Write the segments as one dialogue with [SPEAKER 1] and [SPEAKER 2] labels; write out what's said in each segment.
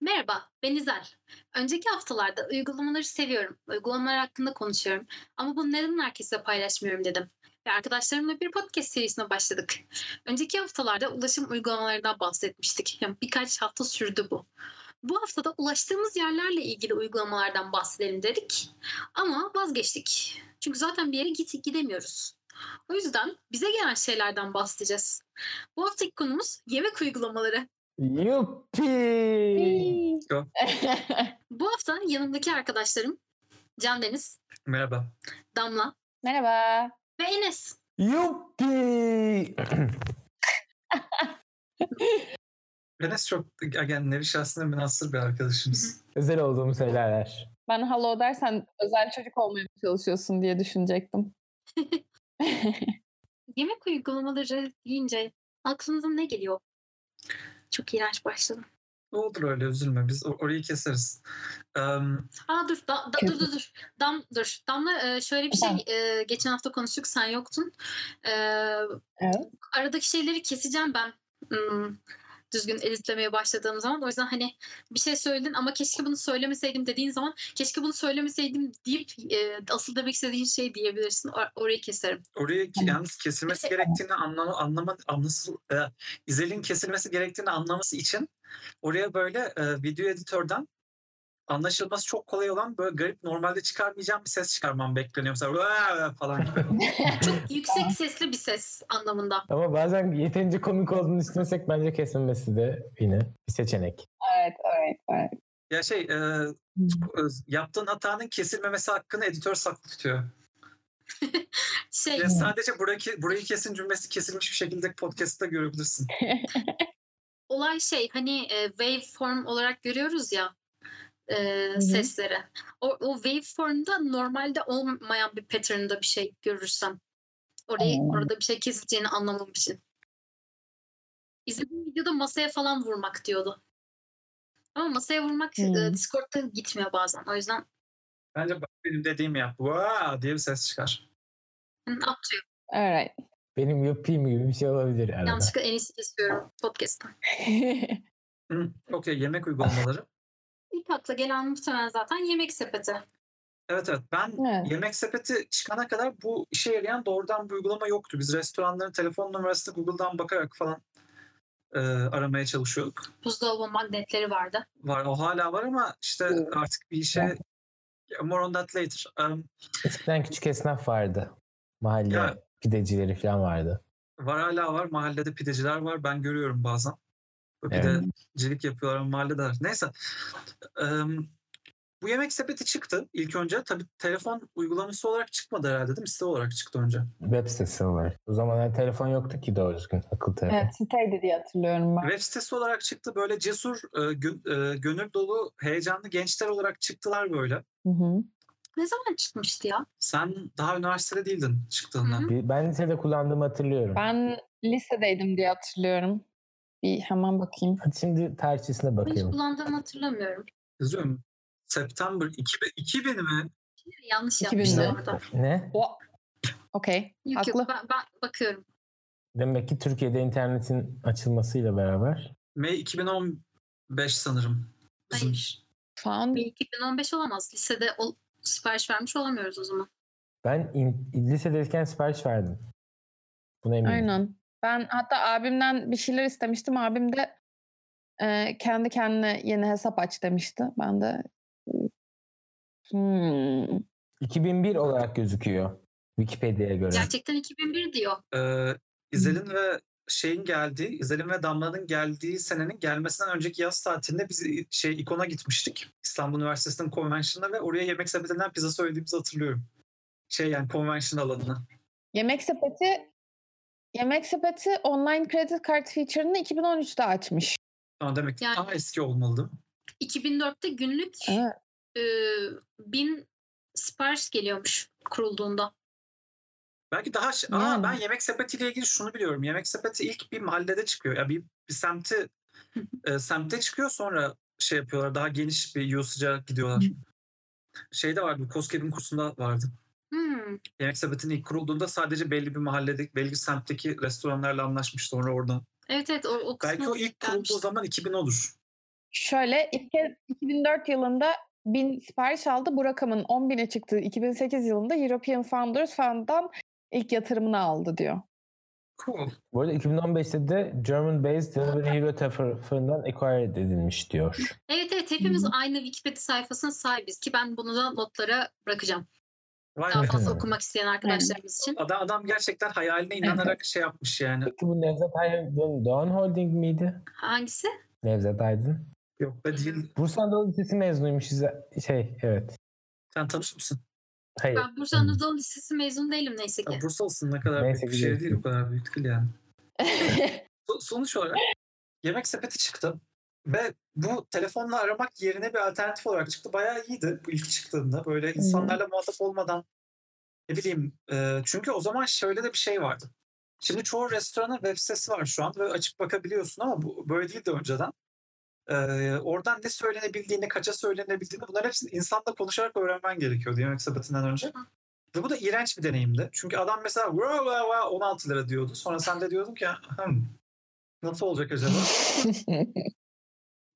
[SPEAKER 1] Merhaba, ben İzel. Önceki haftalarda uygulamaları seviyorum, uygulamalar hakkında konuşuyorum. Ama bunu neden herkese paylaşmıyorum dedim. Ve arkadaşlarımla bir podcast serisine başladık. Önceki haftalarda ulaşım uygulamalarından bahsetmiştik. Yani birkaç hafta sürdü bu. Bu haftada ulaştığımız yerlerle ilgili uygulamalardan bahsedelim dedik. Ama vazgeçtik. Çünkü zaten bir yere git gidemiyoruz. O yüzden bize gelen şeylerden bahsedeceğiz. Bu haftaki konumuz yemek uygulamaları.
[SPEAKER 2] Yuppi!
[SPEAKER 3] Go.
[SPEAKER 1] Bu hafta yanımdaki arkadaşlarım Can Deniz,
[SPEAKER 3] Merhaba.
[SPEAKER 1] Damla
[SPEAKER 4] Merhaba.
[SPEAKER 1] ve Enes.
[SPEAKER 2] Yuppi!
[SPEAKER 3] Enes çok yani nevi şahsına münasır bir arkadaşımız.
[SPEAKER 2] Özel olduğumu söylerler.
[SPEAKER 4] Ben hello dersen özel çocuk olmaya mı çalışıyorsun diye düşünecektim.
[SPEAKER 1] Yemek uygulamaları deyince aklınıza ne geliyor? Çok iğrenç başladım.
[SPEAKER 3] Olur öyle üzülme biz or- orayı keseriz. Em,
[SPEAKER 1] Aa dur, da, da- dur dur dur. Dam dur. Damla e, şöyle bir şey
[SPEAKER 4] Efendim?
[SPEAKER 1] e, geçen hafta konuştuk sen yoktun. E,
[SPEAKER 4] Evet.
[SPEAKER 1] Aradaki şeyleri keseceğim ben. Hmm, düzgün editlemeye başladığım zaman o yüzden hani bir şey söyledin ama keşke bunu söylemeseydim dediğin zaman keşke bunu söylemeseydim deyip e, asıl demek istediğin şey diyebilirsin. Or- orayı keserim.
[SPEAKER 3] orayı ki-
[SPEAKER 4] Tamam.
[SPEAKER 3] yalnız kesilmesi gerektiğini anlama, anlama anlasıl, e, İzel'in kesilmesi gerektiğini anlaması için oraya böyle e, video editörden anlaşılması çok kolay olan böyle garip normalde çıkarmayacağım bir ses çıkarmam bekleniyor. Mesela "Vaa!" falan gibi.
[SPEAKER 1] Çok yüksek sesli bir ses anlamında.
[SPEAKER 2] Ama bazen yeterince komik olduğunu düşünürsek bence kesilmesi de yine bir seçenek.
[SPEAKER 4] evet, evet, evet.
[SPEAKER 3] ya şey e, öz- yaptığın hatanın kesilmemesi hakkını editör saklı tutuyor.
[SPEAKER 1] Şey
[SPEAKER 3] Ve sadece burayı, burayı kesin cümlesi kesilmiş bir şekilde podcast'ta görebilirsin.
[SPEAKER 1] olay şey hani e, waveform olarak görüyoruz ya e,
[SPEAKER 4] hı.
[SPEAKER 1] sesleri. O, o waveform'da normalde olmayan bir pattern'da bir şey görürsem orayı
[SPEAKER 4] Anladım.
[SPEAKER 1] orada bir şey kesileceğini anlamam için. İzlediğim videoda masaya falan vurmak diyordu. Ama masaya vurmak e,
[SPEAKER 4] Hı.
[SPEAKER 1] Discord'da gitmiyor bazen. O yüzden
[SPEAKER 3] Bence bak benim dediğimi yap. Vaa diye bir ses çıkar.
[SPEAKER 1] hani, ne yapacağım?
[SPEAKER 4] Alright.
[SPEAKER 2] Benim yuppi'm gibi bir şey olabilir arada.
[SPEAKER 1] Yanlışlıkla en iyisi kesiyorum podcast'ta.
[SPEAKER 3] Hı, Okey yemek uygulamaları.
[SPEAKER 1] İlk akla gelen muhtemelen zaten yemek sepeti.
[SPEAKER 3] Evet evet ben
[SPEAKER 4] Evet.
[SPEAKER 3] yemek sepeti çıkana kadar bu işe yarayan doğrudan bir uygulama yoktu. Biz restoranların telefon numarasını Google'dan bakarak falan e, aramaya çalışıyorduk.
[SPEAKER 1] Buzdolabı magnetleri vardı.
[SPEAKER 3] Var o hala var ama işte
[SPEAKER 4] Evet.
[SPEAKER 3] artık bir işe more on that later. Um,
[SPEAKER 2] Eskiden küçük esnaf vardı. Mahalle
[SPEAKER 3] Ya.
[SPEAKER 2] pidecileri falan vardı.
[SPEAKER 3] Var hala var. Mahallede pideciler var. Ben görüyorum bazen. Böyle
[SPEAKER 2] Evet.
[SPEAKER 3] Pidecilik yapıyorlar ama mahallede. Neyse. Em, bu yemek sepeti çıktı ilk önce. Tabii telefon uygulaması olarak çıkmadı herhalde değil mi? Site olarak çıktı önce.
[SPEAKER 2] Web sitesi var. O zamanlar telefon yoktu ki doğru düzgün akıl telefon.
[SPEAKER 4] evet, siteydi diye hatırlıyorum ben.
[SPEAKER 3] Web sitesi olarak çıktı. Böyle cesur, e, gö- e, gönül dolu, heyecanlı gençler olarak çıktılar böyle.
[SPEAKER 4] Hı hı.
[SPEAKER 1] Ne zaman çıkmıştı ya?
[SPEAKER 3] Sen daha üniversitede değildin çıktığında.
[SPEAKER 1] Hı hı.
[SPEAKER 2] Bir- Ben lisede kullandığımı hatırlıyorum.
[SPEAKER 4] Ben lisedeydim diye hatırlıyorum. Bir hemen bakayım.
[SPEAKER 2] Hadi şimdi tarihçesine
[SPEAKER 1] Ben hiç
[SPEAKER 2] bakayım.
[SPEAKER 1] kullandığımı hatırlamıyorum.
[SPEAKER 3] Yazıyorum. September 2000, 2000 mi?
[SPEAKER 1] Yanlış
[SPEAKER 4] 2000'de.
[SPEAKER 1] yapmışlar orada.
[SPEAKER 2] Ne?
[SPEAKER 4] O- Okey.
[SPEAKER 1] Yok
[SPEAKER 4] Haklı.
[SPEAKER 1] yok ben, ben bakıyorum.
[SPEAKER 2] Demek ki Türkiye'de internetin açılmasıyla beraber
[SPEAKER 3] May 2015 sanırım. Bizim
[SPEAKER 1] Hayır.
[SPEAKER 4] Found.
[SPEAKER 1] Bir 2015 olamaz. Lisede ol, sipariş vermiş olamıyoruz o zaman.
[SPEAKER 2] Ben in, lisedeyken sipariş verdim. Buna eminim.
[SPEAKER 4] Aynen. Ben hatta abimden bir şeyler istemiştim. Abim de e, kendi kendine yeni hesap aç demişti. Ben de hmm.
[SPEAKER 2] 2001 olarak gözüküyor Wikipedia'ya göre.
[SPEAKER 1] Gerçekten 2001 diyor.
[SPEAKER 3] Ee, İzel'in ve şeyin geldiği, İzel'in ve Damla'nın geldiği senenin gelmesinden önceki yaz tatilinde biz i- şey ikona gitmiştik. İstanbul Üniversitesi'nin konvensiyonuna ve oraya yemek sepetinden pizza söylediğimizi hatırlıyorum. Şey yani konvensiyon alanına.
[SPEAKER 4] Yemek sepeti Yemek sepeti online kredi kart feature'ını 2013'te açmış.
[SPEAKER 3] Ama demek ki
[SPEAKER 1] Yani-
[SPEAKER 3] daha eski olmalı değil mi?
[SPEAKER 1] 2004'te günlük
[SPEAKER 4] Evet.
[SPEAKER 1] e, 1000 sipariş geliyormuş kurulduğunda.
[SPEAKER 3] Belki daha ş- Aa,
[SPEAKER 4] Yani.
[SPEAKER 3] ben yemek sepetiyle ilgili şunu biliyorum. Yemek sepeti ilk bir mahallede çıkıyor. Ya bir, bir semti e, semte çıkıyor sonra şey yapıyorlar. Daha geniş bir usage'a gidiyorlar. Şeyde vardı. Koskep'in kursunda vardı.
[SPEAKER 1] Hmm.
[SPEAKER 3] Yemek sepetinin ilk kurulduğunda sadece belli bir mahalledeki, belli bir semtteki restoranlarla anlaşmış sonra oradan.
[SPEAKER 1] Evet evet o, o kısmı
[SPEAKER 3] Belki o ilk
[SPEAKER 1] gelmiş.
[SPEAKER 3] kurulduğu zaman 2000 olur.
[SPEAKER 4] Şöyle ilk kez 2004 yılında 1000 sipariş aldı. Bu rakamın 10 bine çıktığı 2008 yılında European Founders Fund'dan ilk yatırımını aldı diyor.
[SPEAKER 3] Cool.
[SPEAKER 5] Bu arada 2015'te de German-based Delivery Hero tarafından acquired edilmiş diyor.
[SPEAKER 1] Evet evet hepimiz aynı Wikipedia sayfasına sahibiz ki ben bunu da notlara bırakacağım.
[SPEAKER 3] Vay
[SPEAKER 1] Daha
[SPEAKER 3] be.
[SPEAKER 1] fazla okumak isteyen arkadaşlarımız için.
[SPEAKER 3] Adam, adam gerçekten hayaline inanarak şey yapmış yani.
[SPEAKER 5] Peki bu Nevzat Aydın Doğan Holding miydi?
[SPEAKER 1] Hangisi?
[SPEAKER 5] Nevzat Aydın.
[SPEAKER 3] Yok be değil.
[SPEAKER 5] Bursa Anadolu Lisesi mezunuymuş. Şey evet.
[SPEAKER 3] Sen tanış mısın?
[SPEAKER 5] Hayır.
[SPEAKER 1] Ben Bursa Anadolu Lisesi mezunu değilim neyse ki.
[SPEAKER 3] Ya Bursa olsun ne kadar
[SPEAKER 5] Neyse,
[SPEAKER 3] büyük bir şehir
[SPEAKER 5] güzel.
[SPEAKER 3] değil o kadar büyük değil yani. So- sonuç olarak yemek sepeti çıktı. Ve bu telefonla aramak yerine bir alternatif olarak çıktı. Bayağı iyiydi bu ilk çıktığında. Böyle insanlarla muhatap olmadan ne bileyim. e, çünkü o zaman şöyle de bir şey vardı. Şimdi çoğu restoranın web sitesi var şu an ve açıp bakabiliyorsun ama bu böyle değildi önceden. E, oradan ne söylenebildiğini, kaça söylenebildiğini bunların hepsini insanla konuşarak öğrenmen gerekiyordu yemek sepetinden önce. Ve bu da iğrenç bir deneyimdi. Çünkü adam mesela "Vra, vra, vra, 16 lira diyordu. Sonra sen de diyordun ki "Hmm, nasıl olacak acaba?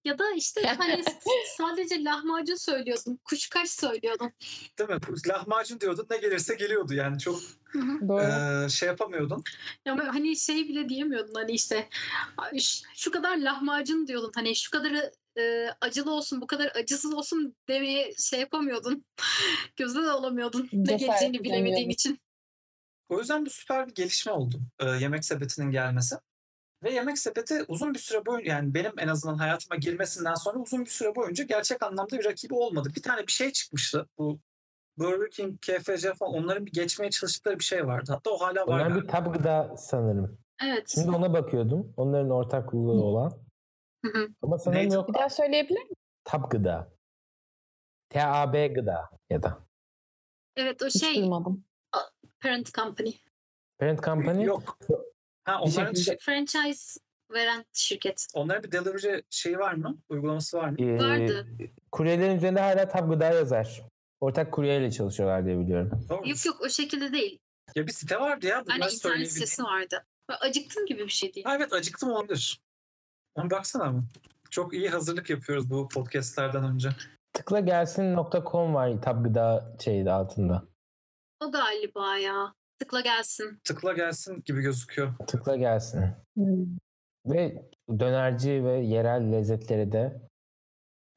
[SPEAKER 1] Ya da işte hani s- sadece lahmacun söylüyordum, kuşkaş söylüyordum.
[SPEAKER 3] Değil mi? Lahmacun diyordun ne gelirse geliyordu yani çok
[SPEAKER 1] Hı hı.
[SPEAKER 4] Doğru.
[SPEAKER 3] eee, şey yapamıyordun.
[SPEAKER 1] Ya ben hani şey bile diyemiyordun hani işte "Ay, ş- şu kadar lahmacun diyordun hani şu kadarı e, acılı olsun bu kadar acısız olsun demeye şey yapamıyordun. Gözde de olamıyordun. Ne
[SPEAKER 4] Cesaret
[SPEAKER 1] geleceğini bilemediğin
[SPEAKER 4] edemiyordun.
[SPEAKER 1] için.
[SPEAKER 3] O yüzden bu süper bir gelişme oldu eee, yemek sepetinin gelmesi. Ve yemek sepeti uzun bir süre boyunca yani benim en azından hayatıma girmesinden sonra uzun bir süre boyunca gerçek anlamda bir rakibi olmadı. Bir tane bir şey çıkmıştı. Bu Burger King, KFC falan onların bir geçmeye çalıştıkları bir şey vardı. Hatta o hala var.
[SPEAKER 5] Onlar bir
[SPEAKER 3] galiba.
[SPEAKER 5] tab gıda sanırım.
[SPEAKER 1] Evet.
[SPEAKER 5] Şimdi ona bakıyordum. Onların ortaklığı olan.
[SPEAKER 1] Hı hı.
[SPEAKER 5] Ama sanırım
[SPEAKER 3] Neydi?
[SPEAKER 5] yok.
[SPEAKER 4] Bir daha söyleyebilir miyim?
[SPEAKER 5] Tab gıda. TAB gıda ya da.
[SPEAKER 1] Evet o
[SPEAKER 4] Hiç
[SPEAKER 1] şey
[SPEAKER 4] duymadım.
[SPEAKER 1] parent company.
[SPEAKER 5] Parent company.
[SPEAKER 3] Yok. Ha,
[SPEAKER 5] Bir
[SPEAKER 3] onların
[SPEAKER 5] şekilde-
[SPEAKER 1] Franchise veren şirket.
[SPEAKER 3] Onlara bir delivery şeyi var mı? Uygulaması var mı?
[SPEAKER 5] Ee,
[SPEAKER 1] Vardı.
[SPEAKER 5] Kuryelerin üzerinde hala tab gıda yazar. Ortak kuryeyle çalışıyorlar diye biliyorum.
[SPEAKER 3] Doğru.
[SPEAKER 1] Yok yok o şekilde değil.
[SPEAKER 3] Ya bir site vardı ya. Bunlar
[SPEAKER 1] Hani internet
[SPEAKER 3] söyleyebildiğim.
[SPEAKER 1] sitesi vardı. Ve Acıktım gibi bir şey değil.
[SPEAKER 3] Ha, evet acıktım olabilir. Ama baksana ama. Çok iyi hazırlık yapıyoruz bu podcastlerden önce.
[SPEAKER 5] Tıkla gelsin.com var tab gıda şeyi altında.
[SPEAKER 1] O galiba ya. Tıkla gelsin.
[SPEAKER 3] Tıkla gelsin gibi gözüküyor.
[SPEAKER 5] Tıkla gelsin. Ve dönerci ve yerel lezzetleri de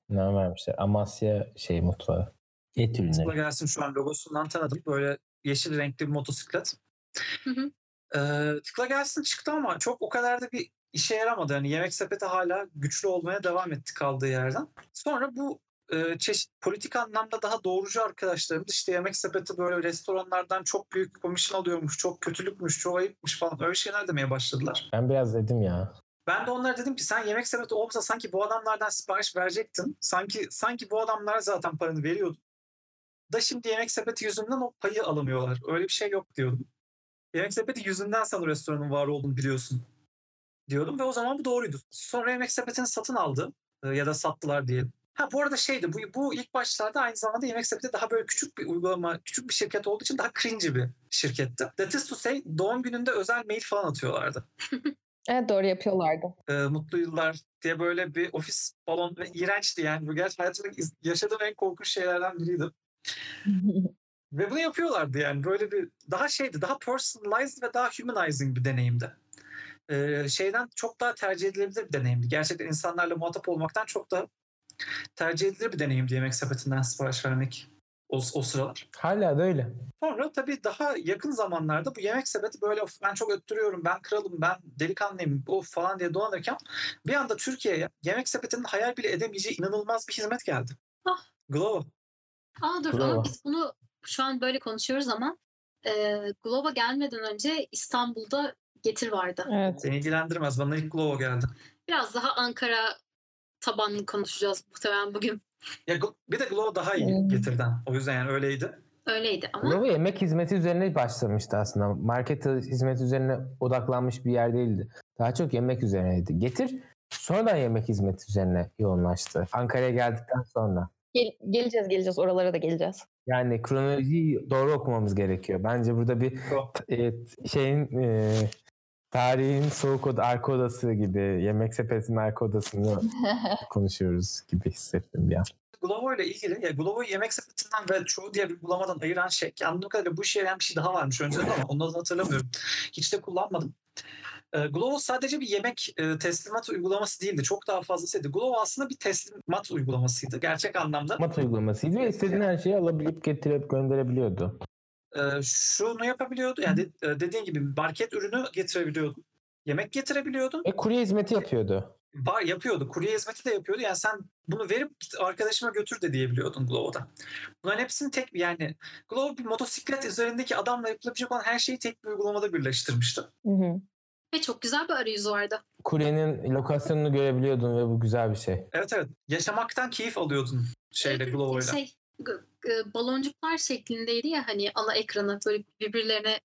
[SPEAKER 5] ne vermişler? Amasya şey mutfağı. Et
[SPEAKER 3] Tıkla
[SPEAKER 5] ürünleri.
[SPEAKER 3] gelsin şu an logosundan tanıdım. Böyle yeşil renkli bir motosiklet.
[SPEAKER 1] Hı hı.
[SPEAKER 3] Ee, tıkla gelsin çıktı ama çok o kadar da bir işe yaramadı. Yani yemek sepeti hala güçlü olmaya devam etti kaldığı yerden. Sonra bu e, çeşit politik anlamda daha doğrucu arkadaşlarımız işte yemek sepeti böyle restoranlardan çok büyük komisyon alıyormuş, çok kötülükmüş, çok ayıpmış falan öyle şeyler demeye başladılar.
[SPEAKER 5] Ben biraz dedim ya.
[SPEAKER 3] Ben de onlara dedim ki sen yemek sepeti olmasa sanki bu adamlardan sipariş verecektin. Sanki sanki bu adamlar zaten paranı veriyordu. Da şimdi yemek sepeti yüzünden o payı alamıyorlar. Öyle bir şey yok diyordum. Yemek sepeti yüzünden sen o restoranın var olduğunu biliyorsun diyordum ve o zaman bu doğruydu. Sonra yemek sepetini satın aldı e, ya da sattılar diyelim. Ha bu arada şeydi bu, bu ilk başlarda aynı zamanda Yemek Sepeti daha böyle küçük bir uygulama, küçük bir şirket olduğu için daha cringy bir şirketti. That is to say doğum gününde özel mail falan atıyorlardı
[SPEAKER 4] Evet doğru yapıyorlardı.
[SPEAKER 3] e, mutlu yıllar diye böyle bir ofis balon ve iğrençti yani. Bu gerçi hayatımda iz- yaşadığım en korkunç şeylerden biriydi. Ve bunu yapıyorlardı yani. Böyle bir daha şeydi, daha personalized ve daha humanizing bir deneyimdi. E, şeyden çok daha tercih edilebilir bir deneyimdi. Gerçekten insanlarla muhatap olmaktan çok daha tercih edilir bir deneyimdi yemek sepetinden sipariş vermek o, o sıralar.
[SPEAKER 5] Hala da öyle.
[SPEAKER 3] Sonra tabii daha yakın zamanlarda bu yemek sepeti böyle "Of, ben çok öttürüyorum, ben kralım, ben delikanlıyım of falan diye dolanırken bir anda Türkiye'ye yemek sepetinin hayal bile edemeyeceği inanılmaz bir hizmet geldi.
[SPEAKER 1] Ah.
[SPEAKER 3] Glovo.
[SPEAKER 1] Aa dur ama
[SPEAKER 5] Glovo.
[SPEAKER 1] biz bunu şu an böyle konuşuyoruz ama e, Globa gelmeden önce İstanbul'da getir vardı.
[SPEAKER 4] Evet.
[SPEAKER 3] Seni ilgilendirmez. Bana ilk Glovo geldi.
[SPEAKER 1] Biraz daha Ankara tabanlı konuşacağız muhtemelen bugün.
[SPEAKER 3] Ya, Glo- bir de Glovo daha iyi
[SPEAKER 4] Hmm.
[SPEAKER 3] getirden. O yüzden yani öyleydi.
[SPEAKER 1] Öyleydi ama
[SPEAKER 5] Glovo yemek hizmeti üzerine başlamıştı aslında. Market hizmeti üzerine odaklanmış bir yer değildi. Daha çok yemek üzerineydi. Getir sonradan yemek hizmeti üzerine yoğunlaştı. Ankara'ya geldikten sonra.
[SPEAKER 4] Gel- geleceğiz geleceğiz oralara da geleceğiz.
[SPEAKER 5] Yani kronolojiyi doğru okumamız gerekiyor. Bence burada bir
[SPEAKER 3] Doğru.
[SPEAKER 5] t- e, t- şeyin e,
[SPEAKER 2] Tarihin soğuk oda, arka odası gibi, yemek sepetinin arka odasını konuşuyoruz gibi hissettim bir an.
[SPEAKER 3] Glovo ile ilgili ya Glovo'yu yemek sepetinden ve çoğu diğer uygulamadan ayıran şey ki anladığım kadarıyla bu işe yarayan bir şey daha varmış önceden ama onun adını hatırlamıyorum. Hiç de kullanmadım. E, Glovo sadece bir yemek e, teslimat uygulaması değildi. Çok daha fazlasıydı. Glovo aslında bir teslimat uygulamasıydı. Gerçek anlamda.
[SPEAKER 2] Mat uygulamasıydı ve istediğin her şeyi alabilip getirip gönderebiliyordu.
[SPEAKER 3] Ee, şunu yapabiliyordu. Yani de- e, dediğin gibi market ürünü getirebiliyordun. Yemek getirebiliyordun.
[SPEAKER 2] E kurye hizmeti yapıyordu.
[SPEAKER 3] Var yapıyordu. Kurye hizmeti de yapıyordu. Yani sen bunu verip git arkadaşıma götür de diyebiliyordun Glovo'da. Bunların hepsini tek yani Glovo bir motosiklet üzerindeki adamla yapılabilecek olan her şeyi tek bir uygulamada birleştirmişti.
[SPEAKER 4] Hı-hı.
[SPEAKER 1] Ve çok güzel bir arayüzü vardı.
[SPEAKER 2] Kuryenin lokasyonunu görebiliyordun ve bu güzel bir şey.
[SPEAKER 3] Evet evet. Yaşamaktan keyif alıyordun şeyle Glovo'yla.
[SPEAKER 1] Şey, g- g- baloncuklar şeklindeydi ya hani ana ekrana böyle birbirlerine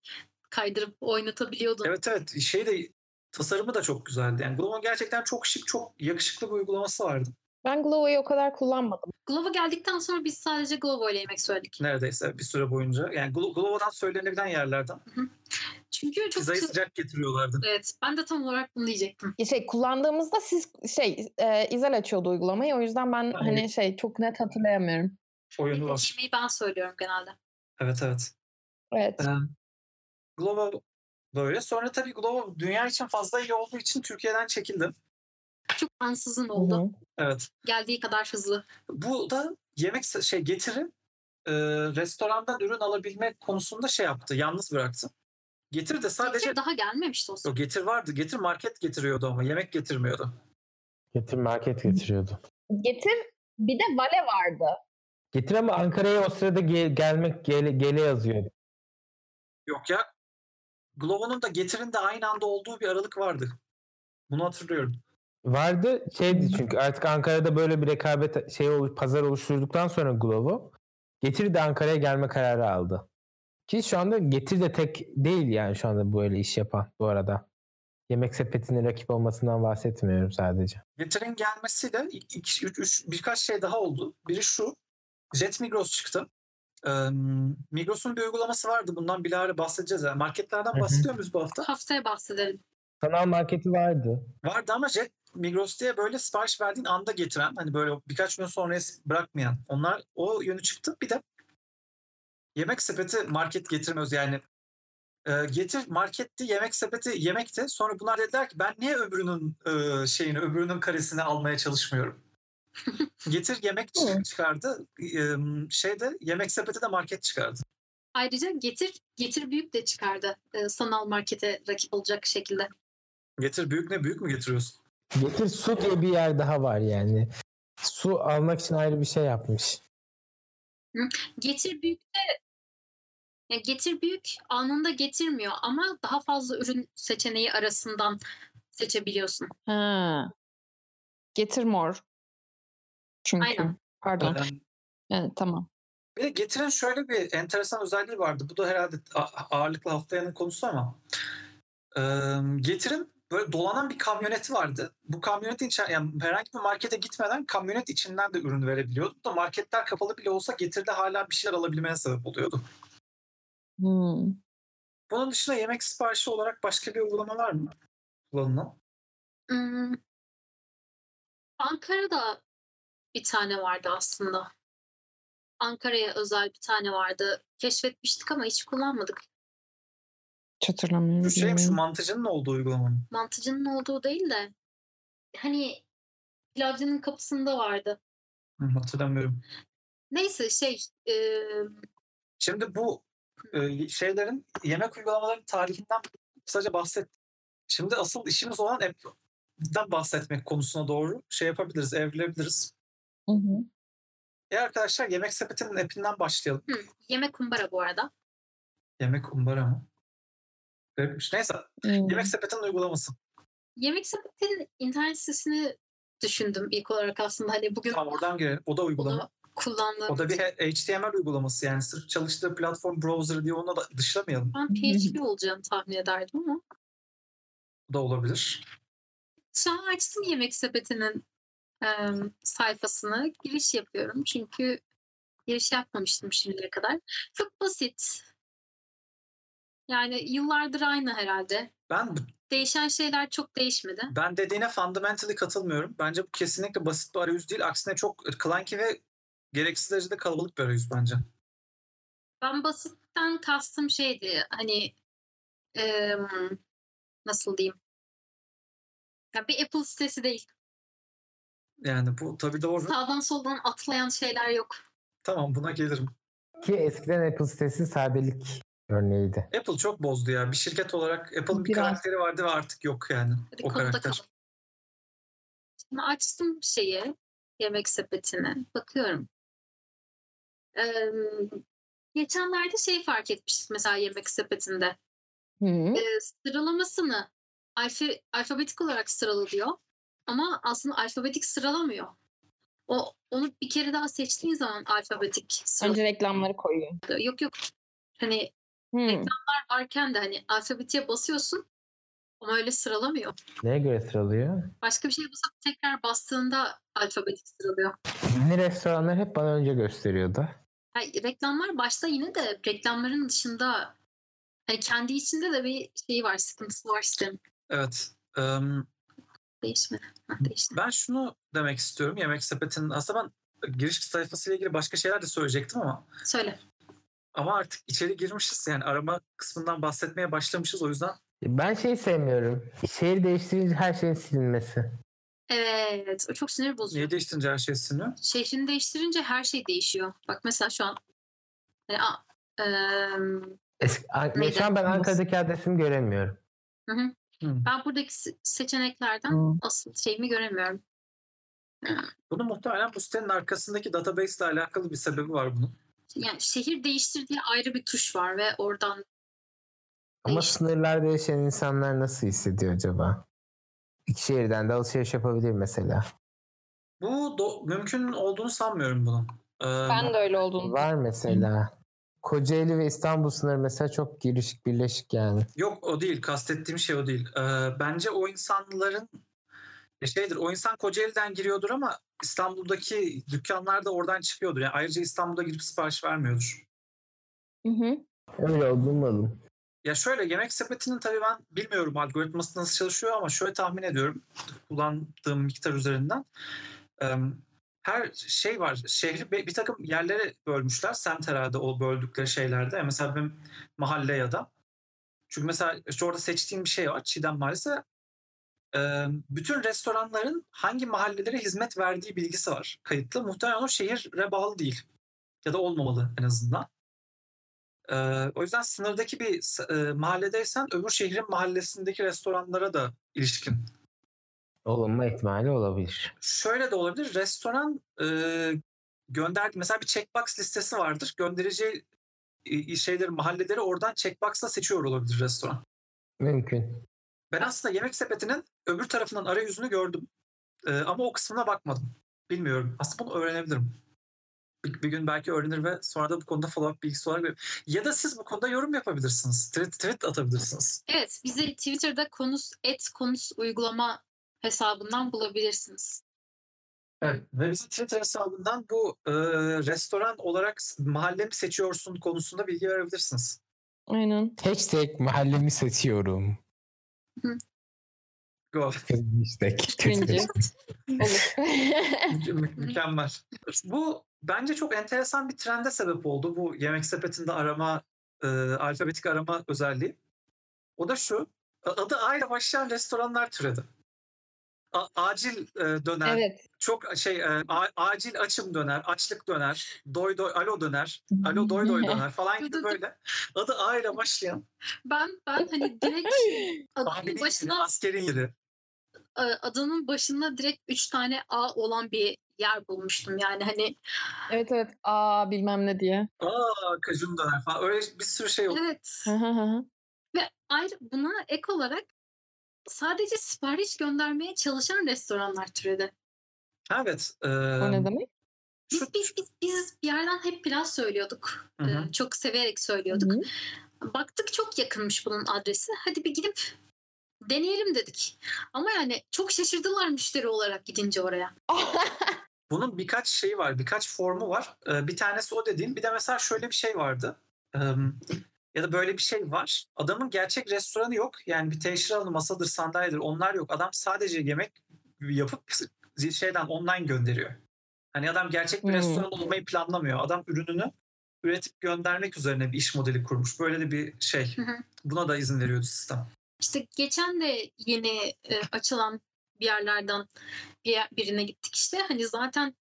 [SPEAKER 1] kaydırıp oynatabiliyordun.
[SPEAKER 3] Evet evet. Şey de tasarımı da çok güzeldi. Yani Glovo'nun gerçekten çok şık, çok yakışıklı bir uygulaması vardı.
[SPEAKER 4] Ben Glovo'yu o kadar kullanmadım.
[SPEAKER 1] Glovo geldikten sonra biz sadece Glovo ile yemek söyledik.
[SPEAKER 3] Neredeyse bir süre boyunca. Yani Glo- Glovo'dan söylenebilen yerlerden.
[SPEAKER 1] Çünkü çok
[SPEAKER 3] Pizzayı
[SPEAKER 1] çı-
[SPEAKER 3] sıcak getiriyorlardı.
[SPEAKER 1] Evet. Ben de tam olarak bunu diyecektim.
[SPEAKER 4] Ya Şey kullandığımızda siz şey e, İzel açıyordu uygulamayı. O yüzden ben hani şey çok net hatırlayamıyorum.
[SPEAKER 3] Oyunu var.
[SPEAKER 1] Yemeği ben söylüyorum genelde.
[SPEAKER 3] Evet evet.
[SPEAKER 4] Evet.
[SPEAKER 3] Ee, Glovo böyle. Sonra tabii Glovo dünya için fazla iyi olduğu için Türkiye'den çekildi.
[SPEAKER 1] Çok ansızın oldu.
[SPEAKER 4] Hı hı.
[SPEAKER 3] Evet.
[SPEAKER 1] Geldiği kadar hızlı.
[SPEAKER 3] Bu da yemek se- şey getiri e, restorandan ürün alabilme konusunda şey yaptı. Yalnız bıraktı. Getir de sadece
[SPEAKER 1] Sadece daha gelmemişti o sırada.
[SPEAKER 3] o getir vardı. Getir market getiriyordu ama yemek getirmiyordu.
[SPEAKER 2] Getir market getiriyordu.
[SPEAKER 4] Getir bir de Vale vardı.
[SPEAKER 2] Getir ama Ankara'ya o sırada ge- gelmek gele, gele yazıyordu.
[SPEAKER 3] Yok ya. Glovo'nun da getirin de aynı anda olduğu bir aralık vardı. Bunu hatırlıyorum.
[SPEAKER 2] Vardı şeydi çünkü artık Ankara'da böyle bir rekabet şey olu- pazar oluşturduktan sonra Glovo Getir de Ankara'ya gelme kararı aldı. Ki şu anda Getir de tek değil yani şu anda böyle iş yapan bu arada. Yemek sepetinin rakip olmasından bahsetmiyorum sadece.
[SPEAKER 3] Getir'in gelmesiyle iki, iki- üç, üç, birkaç şey daha oldu. Biri şu. Jet Migros çıktı. Eee, Migros'un bir uygulaması vardı. Bundan bilahare bahsedeceğiz. Yani
[SPEAKER 2] Hı
[SPEAKER 3] marketlerden
[SPEAKER 2] hı.
[SPEAKER 3] bahsediyor muyuz bu hafta?
[SPEAKER 1] Haftaya bahsedelim.
[SPEAKER 2] Sanal marketi vardı.
[SPEAKER 3] Vardı ama Jet Migros diye böyle sipariş verdiğin anda getiren hani böyle birkaç gün sonraya bırakmayan onlar o yönü çıktı. Bir de yemek sepeti market getirmez yani eee, getir marketti yemek sepeti yemekti. Sonra bunlar dediler ki ben niye öbürünün eee, şeyini öbürünün karesini almaya çalışmıyorum. getir yemek çı-
[SPEAKER 4] Hı.
[SPEAKER 3] çıkardı. Eee, şeyde yemek sepeti de market çıkardı.
[SPEAKER 1] Ayrıca Getir Getir Büyük de çıkardı. e, sanal markete rakip olacak şekilde.
[SPEAKER 3] Getir büyük ne büyük mü getiriyorsun?
[SPEAKER 2] Getir su diye bir yer daha var yani. Su almak için ayrı bir şey yapmış.
[SPEAKER 1] Getir Büyük de ya Getir Büyük anında getirmiyor ama daha fazla ürün seçeneği arasından seçebiliyorsun.
[SPEAKER 4] Ha. Getir mor. Çünkü.
[SPEAKER 1] Aynen.
[SPEAKER 4] Pardon.
[SPEAKER 3] Eee,
[SPEAKER 4] Evet, tamam.
[SPEAKER 3] Bir de Getir'in şöyle bir enteresan özelliği vardı. Bu da herhalde a- ağırlıklı haftayanın konusu ama. Ee, Getir'in böyle dolanan bir kamyoneti vardı. Bu kamyonetin içi- yani herhangi bir markete gitmeden kamyonet içinden de ürün verebiliyordu. Bu da marketler kapalı bile olsa Getir'de hala bir şeyler alabilmeye sebep oluyordu.
[SPEAKER 4] Hmm.
[SPEAKER 3] Bunun dışında yemek siparişi olarak başka bir uygulama var mı? Kullanılan.
[SPEAKER 1] Hmm. Ankara'da bir tane vardı aslında. Ankara'ya özel bir tane vardı. Keşfetmiştik ama hiç kullanmadık.
[SPEAKER 4] Hiç hatırlamıyorum.
[SPEAKER 3] Şu şey şu
[SPEAKER 4] bilmiyorum.
[SPEAKER 3] mantıcının olduğu uygulama. mı?
[SPEAKER 1] Mantıcının olduğu değil de hani pilavcının kapısında vardı.
[SPEAKER 3] Hı, Hatırlamıyorum.
[SPEAKER 1] Neyse şey e,
[SPEAKER 3] Şimdi bu e, şeylerin yemek uygulamalarının tarihinden kısaca bahset. Şimdi asıl işimiz olan app'den bahsetmek konusuna doğru şey yapabiliriz, evrilebiliriz.
[SPEAKER 4] Hı hı.
[SPEAKER 3] E arkadaşlar yemek sepetinin app'inden başlayalım.
[SPEAKER 1] hı, yemek kumbara bu arada.
[SPEAKER 3] Yemek umbara mı? Garipmiş. Neyse.
[SPEAKER 4] Hmm.
[SPEAKER 3] Yemek sepetinin uygulaması.
[SPEAKER 1] Yemek sepetinin internet sitesini düşündüm ilk olarak aslında hani bugün
[SPEAKER 3] Tamam oradan girelim. O da uygulama.
[SPEAKER 1] bunu kullandığım
[SPEAKER 3] O da bir
[SPEAKER 1] için
[SPEAKER 3] HTML uygulaması yani sırf çalıştığı platform browser diye onu da dışlamayalım.
[SPEAKER 1] ben PHP olacağını tahmin ederdim ama
[SPEAKER 3] Bu da olabilir.
[SPEAKER 1] Şu an açtım yemek sepetinin em, sayfasını. Giriş yapıyorum çünkü giriş yapmamıştım şimdiye kadar. Çok basit. Yani yıllardır aynı herhalde.
[SPEAKER 3] Ben bu-
[SPEAKER 1] değişen şeyler çok değişmedi.
[SPEAKER 3] Ben dediğine fundamentally katılmıyorum. Bence bu kesinlikle basit bir arayüz değil. Aksine çok clunky ve gereksiz derecede kalabalık bir arayüz bence.
[SPEAKER 1] Ben basitten kastım şeydi hani eee, nasıl diyeyim? Ya bir Apple sitesi değil.
[SPEAKER 3] Yani bu tabii doğru.
[SPEAKER 1] Sağdan soldan atlayan şeyler yok.
[SPEAKER 3] Tamam buna gelirim.
[SPEAKER 2] Ki eskiden Apple sitesi sadelik örneğiydi.
[SPEAKER 3] Apple çok bozdu ya. Bir şirket olarak Apple'ın bir
[SPEAKER 4] Biraz.
[SPEAKER 3] karakteri vardı ve artık yok yani.
[SPEAKER 1] Hadi
[SPEAKER 3] o
[SPEAKER 1] konuda
[SPEAKER 3] karakter.
[SPEAKER 1] kalalım. Şimdi açtım şeyi, yemek sepetini. Bakıyorum. Eee, geçenlerde şey fark etmiştik mesela yemek sepetinde.
[SPEAKER 4] Hı.
[SPEAKER 1] e, sıralamasını alfe- alfabetik olarak sıralıyor ama aslında alfabetik sıralamıyor. O onu bir kere daha seçtiğin zaman alfabetik sıralıyor.
[SPEAKER 4] Önce reklamları koyuyor.
[SPEAKER 1] Yok yok. Hani
[SPEAKER 4] Hı.
[SPEAKER 1] varken de hani alfabetiye basıyorsun ama öyle sıralamıyor.
[SPEAKER 2] Neye göre sıralıyor?
[SPEAKER 1] Başka bir şey basıp tekrar bastığında alfabetik sıralıyor.
[SPEAKER 2] Yeni restoranlar hep bana önce gösteriyordu.
[SPEAKER 1] Ha, reklamlar başta yine de reklamların dışında hani kendi içinde de bir şey var, sıkıntısı var sistemin.
[SPEAKER 3] Evet. Em,
[SPEAKER 1] Değişmedi. Ha, değişti.
[SPEAKER 3] ben şunu demek istiyorum. Yemek sepetinin aslında ben giriş sayfasıyla ilgili başka şeyler de söyleyecektim ama
[SPEAKER 1] Söyle.
[SPEAKER 3] ama artık içeri girmişiz yani arama kısmından bahsetmeye başlamışız o yüzden
[SPEAKER 2] Ben şey sevmiyorum. Şehir değiştirince her şeyin silinmesi.
[SPEAKER 1] Evet. O çok sinir bozucu.
[SPEAKER 3] niye değiştirince her şey siliniyor?
[SPEAKER 1] şehrini değiştirince her şey değişiyor. Bak mesela şu an hani, a- em,
[SPEAKER 2] Eski, An-
[SPEAKER 1] Neden?
[SPEAKER 2] şu an ben Ankara'daki adresimi göremiyorum.
[SPEAKER 1] hı hı.
[SPEAKER 3] Hmm.
[SPEAKER 1] ben buradaki se- seçeneklerden
[SPEAKER 4] Hı.
[SPEAKER 1] asıl şeyimi göremiyorum.
[SPEAKER 3] Bunu muhtemelen bu sitenin arkasındaki database ile alakalı bir sebebi var bunun.
[SPEAKER 1] Yani şehir değiştir diye ayrı bir tuş var ve oradan
[SPEAKER 2] Ama
[SPEAKER 1] Değişti.
[SPEAKER 2] sınırlar değişen insanlar nasıl hissediyor acaba? İki şehirden de alışveriş yapabilir mesela.
[SPEAKER 3] Bu do- mümkün olduğunu sanmıyorum bunun. Ee, Em,
[SPEAKER 4] Ben de öyle olduğunu.
[SPEAKER 2] Var mesela. Kocaeli ve İstanbul sınırı mesela çok girişik birleşik yani.
[SPEAKER 3] Yok o değil. Kastettiğim şey o değil. Ee, bence o insanların e, şeydir. O insan Kocaeli'den giriyordur ama İstanbul'daki dükkanlar da oradan çıkıyordur. Yani ayrıca İstanbul'da girip sipariş vermiyordur.
[SPEAKER 4] Hı hı.
[SPEAKER 2] Öyle olmalı.
[SPEAKER 3] Ya şöyle yemek sepetinin tabii ben bilmiyorum algoritması nasıl çalışıyor ama şöyle tahmin ediyorum kullandığım miktar üzerinden. Ee, her şey var. Şehri be- bir takım yerlere bölmüşler. Semt herhalde o böldükleri şeylerde. Yani Mesela benim mahalle ya da. Çünkü mesela işte orada seçtiğim bir şey var. Çiğdem Mahallesi. Ee, bütün restoranların hangi mahallelere hizmet verdiği bilgisi var kayıtlı. Muhtemelen o şehire bağlı değil. Ya da olmamalı en azından. Ee, o yüzden sınırdaki bir s- e, mahalledeysen öbür şehrin mahallesindeki restoranlara da ilişkin.
[SPEAKER 2] Olunma ihtimali olabilir.
[SPEAKER 3] Şöyle de olabilir. Restoran e, gönder mesela bir checkbox listesi vardır. Göndereceği e, şeyleri, mahalleleri oradan checkbox'la seçiyor olabilir restoran.
[SPEAKER 2] Mümkün.
[SPEAKER 3] Ben aslında yemek sepetinin öbür tarafından arayüzünü gördüm. Ee, ama o kısmına bakmadım. Bilmiyorum. Aslında bunu öğrenebilirim. Bir, bir gün belki öğrenir ve sonra da bu konuda follow-up bilgisi olarak verir. Ya da siz bu konuda yorum yapabilirsiniz. Tweet, tweet atabilirsiniz.
[SPEAKER 1] evet bizi Twitter'da konus et konus uygulama hesabından bulabilirsiniz.
[SPEAKER 3] Evet. Ve bizim Twitter hesabından bu e, restoran olarak s- mahalle mi seçiyorsun konusunda bilgi verebilirsiniz.
[SPEAKER 4] Aynen.
[SPEAKER 2] Hashtag mahallemi seçiyorum.
[SPEAKER 3] Go.
[SPEAKER 2] Hashtag.
[SPEAKER 4] Cringe. Olur.
[SPEAKER 3] Mü- mü- Mükemmel. Bu bence çok enteresan bir trende sebep oldu bu yemek sepetinde arama e, alfabetik arama özelliği. O da şu. a- Adı A ile başlayan restoranlar türedi. A- acil e, döner,
[SPEAKER 4] evet.
[SPEAKER 3] çok şey e, a- acil açım döner, açlık döner, doy doy alo döner, alo doy doy döner falan gibi böyle. Adı A ile başlayan
[SPEAKER 1] Ben ben hani direkt adının
[SPEAKER 3] abinin yeri,
[SPEAKER 1] başına
[SPEAKER 3] askerin yeri.
[SPEAKER 1] e, adının başında direkt üç tane A olan bir yer bulmuştum. Yani hani
[SPEAKER 4] Evet evet. Aa bilmem ne diye.
[SPEAKER 3] Aa kajun döner falan. Öyle bir sürü şey oldu.
[SPEAKER 1] evet.
[SPEAKER 4] Hı hı hı hı.
[SPEAKER 1] Ve ayrı buna ek olarak sadece sipariş göndermeye çalışan restoranlar türedi.
[SPEAKER 3] Evet. e,
[SPEAKER 4] o ne demek?
[SPEAKER 3] şu-
[SPEAKER 1] Biz biz biz, biz bir yerden hep pilav söylüyorduk.
[SPEAKER 3] Hı hı.
[SPEAKER 1] Ee, Çok severek söylüyorduk. Baktık çok yakınmış bunun adresi. Hadi bir gidip deneyelim dedik. Ama yani çok şaşırdılar müşteri olarak gidince oraya.
[SPEAKER 3] Bunun birkaç şeyi var, birkaç formu var. Ee, Bir tanesi o dediğim. Bir de mesela şöyle bir şey vardı. Ee, Ya da böyle bir şey var. Adamın gerçek restoranı yok. Yani bir teşhir alanı masadır, sandalyedir onlar yok. Adam sadece yemek yapıp şeyden online gönderiyor. Hani adam gerçek bir
[SPEAKER 4] Hmm.
[SPEAKER 3] restoran olmayı planlamıyor. Adam ürününü üretip göndermek üzerine bir iş modeli kurmuş. Böyle de bir şey.
[SPEAKER 1] Hı hı.
[SPEAKER 3] Buna da izin veriyordu sistem.
[SPEAKER 1] İşte geçen de yeni e, açılan bir yerlerden bir yer- birine gittik işte. Hani zaten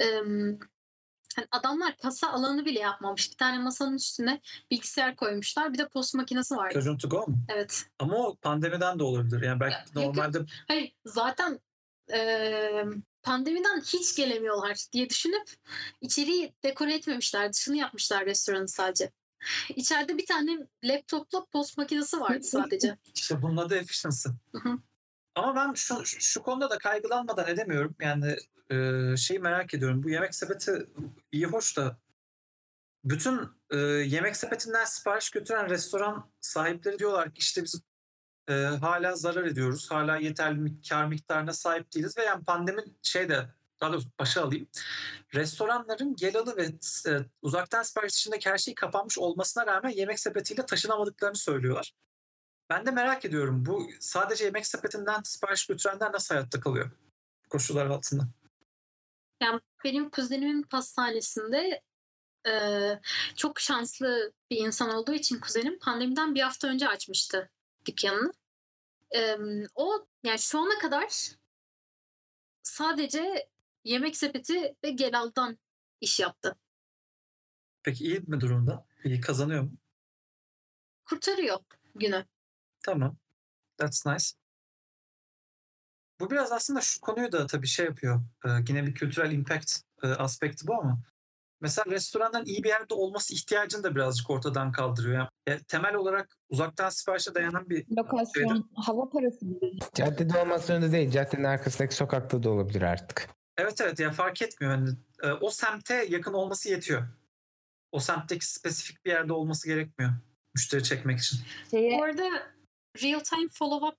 [SPEAKER 1] em, hani adamlar kasa alanı bile yapmamış. Bir tane masanın üstüne bilgisayar koymuşlar. Bir de post makinesi var.
[SPEAKER 3] Çocuğun to go mu?
[SPEAKER 1] Evet.
[SPEAKER 3] Ama o pandemiden de olabilir. Yani belki
[SPEAKER 1] Ya, yok,
[SPEAKER 3] normalde
[SPEAKER 1] Hayır zaten em, pandemiden hiç gelemiyorlar diye düşünüp içeriği dekore etmemişler. Dışını yapmışlar restoranı sadece. İçeride bir tane laptopla post makinesi vardı sadece.
[SPEAKER 3] İşte bunun adı efficiency.
[SPEAKER 1] hı.
[SPEAKER 3] Ama ben şu, şu konuda da kaygılanmadan edemiyorum. Yani e, şeyi merak ediyorum. Bu yemek sepeti iyi hoş da bütün e, yemek sepetinden sipariş götüren restoran sahipleri diyorlar ki işte biz e, hala zarar ediyoruz. Hala yeterli mik- kar miktarına sahip değiliz ve yani pandemi şeyde daha doğrusu başa alayım. Restoranların gelalı ve e, uzaktan sipariş dışındaki her şey kapanmış olmasına rağmen yemek sepetiyle taşınamadıklarını söylüyorlar. Ben de merak ediyorum bu sadece yemek sepetinden sipariş götürenler nasıl hayatta kalıyor bu koşullar altında?
[SPEAKER 1] benim kuzenimin pastanesinde eee, çok şanslı bir insan olduğu için kuzenim pandemiden bir hafta önce açmıştı dükkanını. Eee, o yani şu ana kadar sadece yemek sepeti ve Gelal'dan iş yaptı.
[SPEAKER 3] Peki iyi mi durumda? İyi kazanıyor mu?
[SPEAKER 1] Kurtarıyor günü.
[SPEAKER 3] Tamam. That's nice. Bu biraz aslında şu konuyu da tabii şey yapıyor. e, yine bir kültürel impact e, aspekti bu ama. Mesela restorandan iyi bir yerde olması ihtiyacını da birazcık ortadan kaldırıyor. Yani, e, temel olarak uzaktan siparişe dayanan bir e, şey
[SPEAKER 4] Lokasyon, hava parası bile.
[SPEAKER 2] Caddede olmak zorunda değil. Caddenin arkasındaki sokakta da olabilir artık.
[SPEAKER 3] Evet evet ya fark etmiyor. Yani, e, o semte yakın olması yetiyor. O semtteki spesifik bir yerde olması gerekmiyor. Müşteri çekmek için.
[SPEAKER 1] Bu
[SPEAKER 4] Şeye,
[SPEAKER 1] arada real time follow up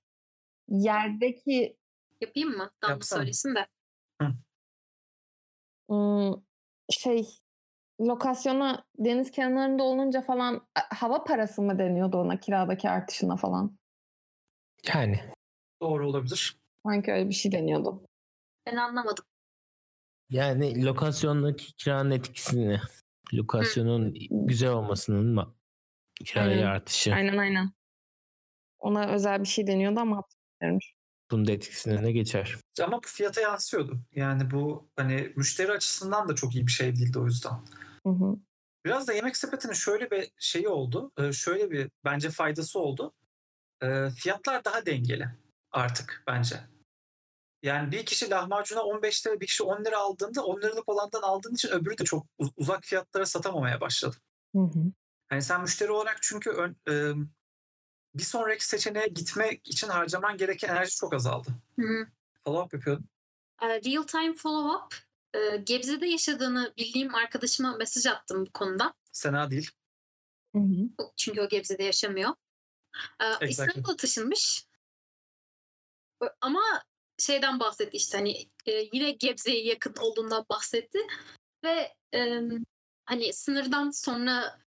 [SPEAKER 4] yerdeki
[SPEAKER 1] yapayım mı? Damla
[SPEAKER 3] Yapsana.
[SPEAKER 1] söylesin de.
[SPEAKER 4] ım, şey lokasyona deniz kenarında olunca falan a- hava parası mı deniyordu ona kiradaki artışına falan.
[SPEAKER 2] Yani
[SPEAKER 3] Doğru olabilir.
[SPEAKER 4] Sanki öyle bir şey deniyordu.
[SPEAKER 1] Ben anlamadım.
[SPEAKER 5] Yani lokasyondaki kiranın etkisini, lokasyonun güzel olmasının mı? Kiraya
[SPEAKER 4] Aynen.
[SPEAKER 5] artışı.
[SPEAKER 4] Aynen aynen. Ona özel bir şey deniyordu ama hatırlamıyorum.
[SPEAKER 5] Bunun da etkisine ne geçer?
[SPEAKER 3] Ama bu fiyata yansıyordu. Yani bu hani müşteri açısından da çok iyi bir şey değildi o yüzden.
[SPEAKER 4] Hı hı.
[SPEAKER 3] Biraz da yemek sepetinin şöyle bir şeyi oldu. e, Şöyle bir bence faydası oldu. E, Fiyatlar daha dengeli artık bence. Yani bir kişi lahmacuna 15 lira, bir kişi 10 lira aldığında 10 liralık olandan aldığın için öbürü de çok uz- uzak fiyatlara satamamaya başladı.
[SPEAKER 4] Hı hı.
[SPEAKER 3] Hani sen müşteri olarak çünkü ön- e, bir sonraki seçeneğe gitmek için harcaman gereken enerji çok azaldı.
[SPEAKER 1] Hı hı.
[SPEAKER 3] Follow up yapıyordum.
[SPEAKER 1] E, real time follow up e, Gebze'de yaşadığını bildiğim arkadaşıma mesaj attım bu konuda.
[SPEAKER 3] Sena değil.
[SPEAKER 4] Hı hı.
[SPEAKER 1] O- Çünkü o Gebze'de yaşamıyor. E,
[SPEAKER 3] Exactly.
[SPEAKER 1] İstanbul'a taşınmış. E, Ama şeyden bahsetti işte hani e, yine Gebze'ye yakın olduğundan bahsetti ve e, hani sınırdan sonra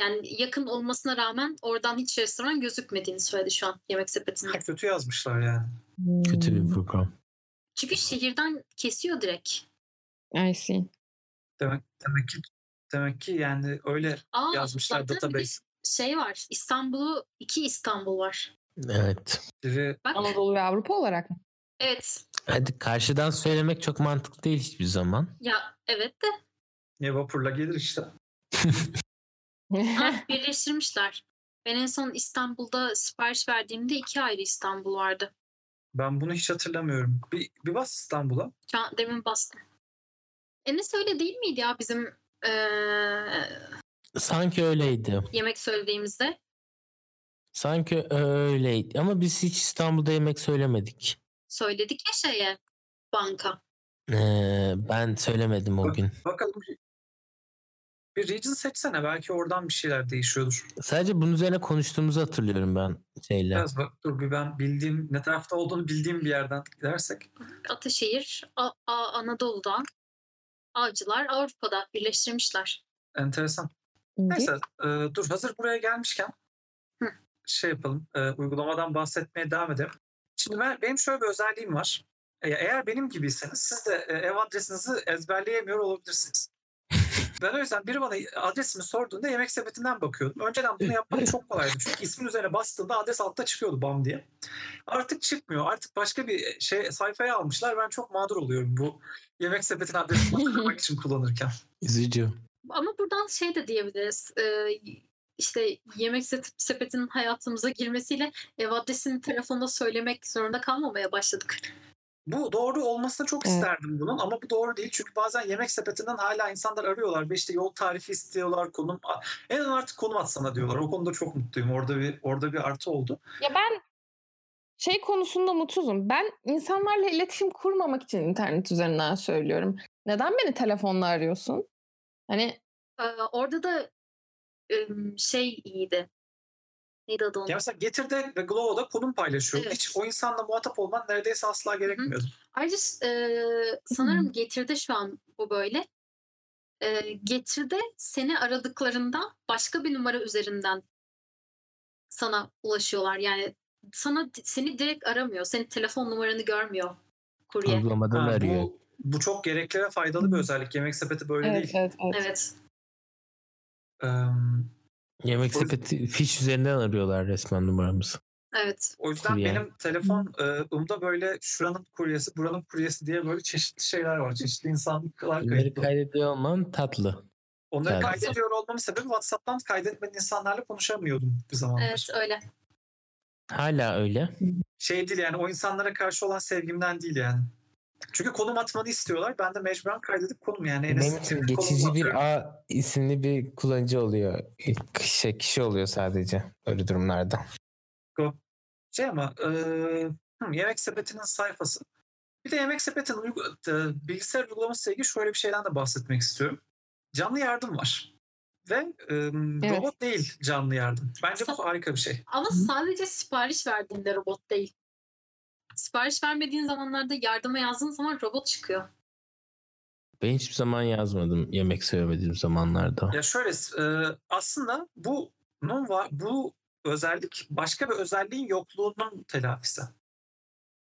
[SPEAKER 1] yani yakın olmasına rağmen oradan hiç restoran gözükmediğini söyledi şu an yemek sepetinde.
[SPEAKER 3] Kötü yazmışlar yani.
[SPEAKER 5] Kötü
[SPEAKER 4] Hmm.
[SPEAKER 5] bir program.
[SPEAKER 1] Çünkü şehirden kesiyor direkt.
[SPEAKER 4] Hmm, I see.
[SPEAKER 3] Demek demek ki demek ki yani öyle
[SPEAKER 1] Aa,
[SPEAKER 3] yazmışlar
[SPEAKER 1] zaten
[SPEAKER 3] database.
[SPEAKER 1] bir şey var. İstanbul'u iki İstanbul var.
[SPEAKER 5] Evet.
[SPEAKER 3] biri
[SPEAKER 1] Bak
[SPEAKER 4] Anadolu ve Avrupa olarak mı?
[SPEAKER 1] evet
[SPEAKER 5] Hadi karşıdan söylemek çok mantıklı değil hiçbir zaman.
[SPEAKER 1] ya evet de
[SPEAKER 3] ne vapurla gelir işte.
[SPEAKER 1] ha, birleştirmişler. Ben en son İstanbul'da sipariş verdiğimde iki ayrı İstanbul vardı.
[SPEAKER 3] Ben bunu hiç hatırlamıyorum. Bir, bir bas İstanbul'a.
[SPEAKER 1] Şu an demin bastım. Enes öyle değil miydi ya bizim eee,
[SPEAKER 5] Sanki öyleydi.
[SPEAKER 1] yemek söylediğimizde?
[SPEAKER 5] Sanki öyleydi. Ama biz hiç İstanbul'da yemek söylemedik.
[SPEAKER 1] Söyledik ya şeye banka.
[SPEAKER 5] Ee, ben söylemedim o gün.
[SPEAKER 3] Bakalım bir- bir region seçsene belki oradan bir şeyler değişiyordur.
[SPEAKER 5] Sadece bunun üzerine konuştuğumuzu hatırlıyorum ben şeyle.
[SPEAKER 3] Biraz bak dur bir ben bildiğim ne tarafta olduğunu bildiğim bir yerden gidersek.
[SPEAKER 1] Ataşehir, A- A- Anadolu'dan, Avcılar Avrupa'da birleştirmişler.
[SPEAKER 3] Enteresan. Neyse e, dur hazır buraya gelmişken
[SPEAKER 1] Hı.
[SPEAKER 3] şey yapalım e, uygulamadan bahsetmeye devam edelim. Şimdi ben, benim şöyle bir özelliğim var. E, eğer benim gibiyseniz siz de e, ev adresinizi ezberleyemiyor olabilirsiniz. ben o yüzden biri bana adresimi sorduğunda yemek sepetinden bakıyordum. Önceden bunu yapmak çok kolaydı. Çünkü ismin üzerine bastığında adres altta çıkıyordu bam diye. Artık çıkmıyor. Artık başka bir şey sayfaya almışlar. Ben çok mağdur oluyorum bu yemek sepetinin adresini hatırlamak için kullanırken.
[SPEAKER 5] Üzücü.
[SPEAKER 1] Ama buradan şey de diyebiliriz. Ee, işte yemek sep- sepetinin hayatımıza girmesiyle ev adresini telefonda söylemek zorunda kalmamaya başladık.
[SPEAKER 3] Bu doğru olmasını çok
[SPEAKER 4] Evet.
[SPEAKER 3] isterdim bunun ama bu doğru değil. Çünkü bazen yemek sepetinden hala insanlar arıyorlar ve işte yol tarifi istiyorlar, konum. En azından artık konum atsana diyorlar. O konuda çok mutluyum. Orada bir orada bir artı oldu.
[SPEAKER 4] Ya ben şey konusunda mutsuzum. Ben insanlarla iletişim kurmamak için internet üzerinden söylüyorum. Neden beni telefonla arıyorsun? Hani
[SPEAKER 1] Ee, orada da ım, şey iyiydi. Neydi adı onun?
[SPEAKER 3] Ya mesela Getir'de ve Glovo'da konum paylaşıyor.
[SPEAKER 1] Evet.
[SPEAKER 3] Hiç o insanla muhatap olman neredeyse asla gerekmiyordu.
[SPEAKER 1] Ayrıca e, sanırım Getir'de şu an bu böyle. E, Getir'de seni aradıklarında başka bir numara üzerinden sana ulaşıyorlar. Yani sana seni direkt aramıyor. Senin telefon numaranı görmüyor kurye.
[SPEAKER 5] Uygulamadan
[SPEAKER 3] Ha,
[SPEAKER 5] arıyor.
[SPEAKER 3] bu, bu çok gerekli ve faydalı bir özellik. Yemek sepeti böyle
[SPEAKER 4] evet,
[SPEAKER 3] değil.
[SPEAKER 4] evet, evet.
[SPEAKER 1] Evet.
[SPEAKER 3] Eee,
[SPEAKER 5] Yemek
[SPEAKER 3] O-
[SPEAKER 5] sepeti fiş üzerinden arıyorlar resmen numaramızı.
[SPEAKER 1] Evet.
[SPEAKER 3] o yüzden
[SPEAKER 5] Kurye.
[SPEAKER 3] benim telefon umda böyle şuranın kuryesi, buranın kuryesi diye böyle çeşitli şeyler var. Çeşitli insanlıklar
[SPEAKER 5] Bunları
[SPEAKER 3] kayıtlı.
[SPEAKER 5] kaydediyor olman tatlı.
[SPEAKER 3] Onları
[SPEAKER 5] Evet.
[SPEAKER 3] kaydediyor olmamın sebebi WhatsApp'tan kaydetmeden insanlarla konuşamıyordum bir zamanlar.
[SPEAKER 1] Evet öyle.
[SPEAKER 5] Hala öyle.
[SPEAKER 3] Şey değil yani o insanlara karşı olan sevgimden değil yani. Çünkü konum atmanı istiyorlar. Ben de mecburen kaydedip konum yani. Enes'in
[SPEAKER 2] Benim için
[SPEAKER 3] konumunu
[SPEAKER 2] geçici
[SPEAKER 3] atıyorum.
[SPEAKER 2] bir A isimli bir kullanıcı oluyor.
[SPEAKER 5] şey,
[SPEAKER 2] Kişi, kişi oluyor sadece öyle durumlarda.
[SPEAKER 3] Şey ama e, hı, yemek sepetinin sayfası. Bir de yemek sepetinin uygu, e, bilgisayar uygulaması ile ilgili şöyle bir şeyden de bahsetmek istiyorum. Canlı yardım var. Ve e, robot değil canlı yardım. Bence bu harika bir şey.
[SPEAKER 1] Ama sadece sipariş verdiğinde robot değil. Sipariş vermediğin zamanlarda yardıma yazdığın zaman robot çıkıyor.
[SPEAKER 5] Ben hiçbir zaman yazmadım yemek söylemediğim zamanlarda.
[SPEAKER 3] Ya şöyle e, aslında bu bunun var bu özellik başka bir özelliğin yokluğunun telafisi.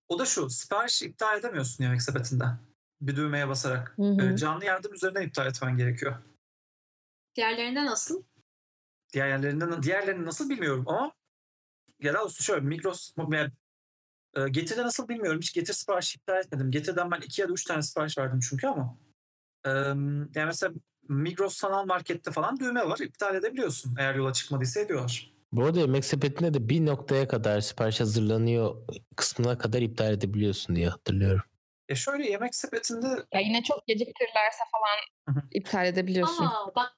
[SPEAKER 3] O da şu sipariş iptal edemiyorsun yemek sepetinden bir düğmeye basarak.
[SPEAKER 4] Hı hı.
[SPEAKER 3] E, canlı yardım üzerinden iptal etmen gerekiyor.
[SPEAKER 1] Diğerlerinde nasıl?
[SPEAKER 3] Diğerlerinden diğerlerini nasıl bilmiyorum ama ya da şöyle Migros yani, e, Getir'de nasıl bilmiyorum. Hiç Getir sipariş iptal etmedim. Getir'den ben iki ya da üç tane sipariş verdim çünkü ama. E, yani mesela Migros sanal markette falan düğme var. iptal edebiliyorsun eğer yola çıkmadıysa ediyorlar.
[SPEAKER 5] Bu arada yemek sepetinde de bir noktaya kadar sipariş hazırlanıyor kısmına kadar iptal edebiliyorsun diye hatırlıyorum.
[SPEAKER 3] E şöyle yemek sepetinde
[SPEAKER 4] Ya yine çok geciktirirlerse
[SPEAKER 3] Hı
[SPEAKER 4] falan
[SPEAKER 3] hı.
[SPEAKER 4] iptal edebiliyorsun.
[SPEAKER 1] Aa bak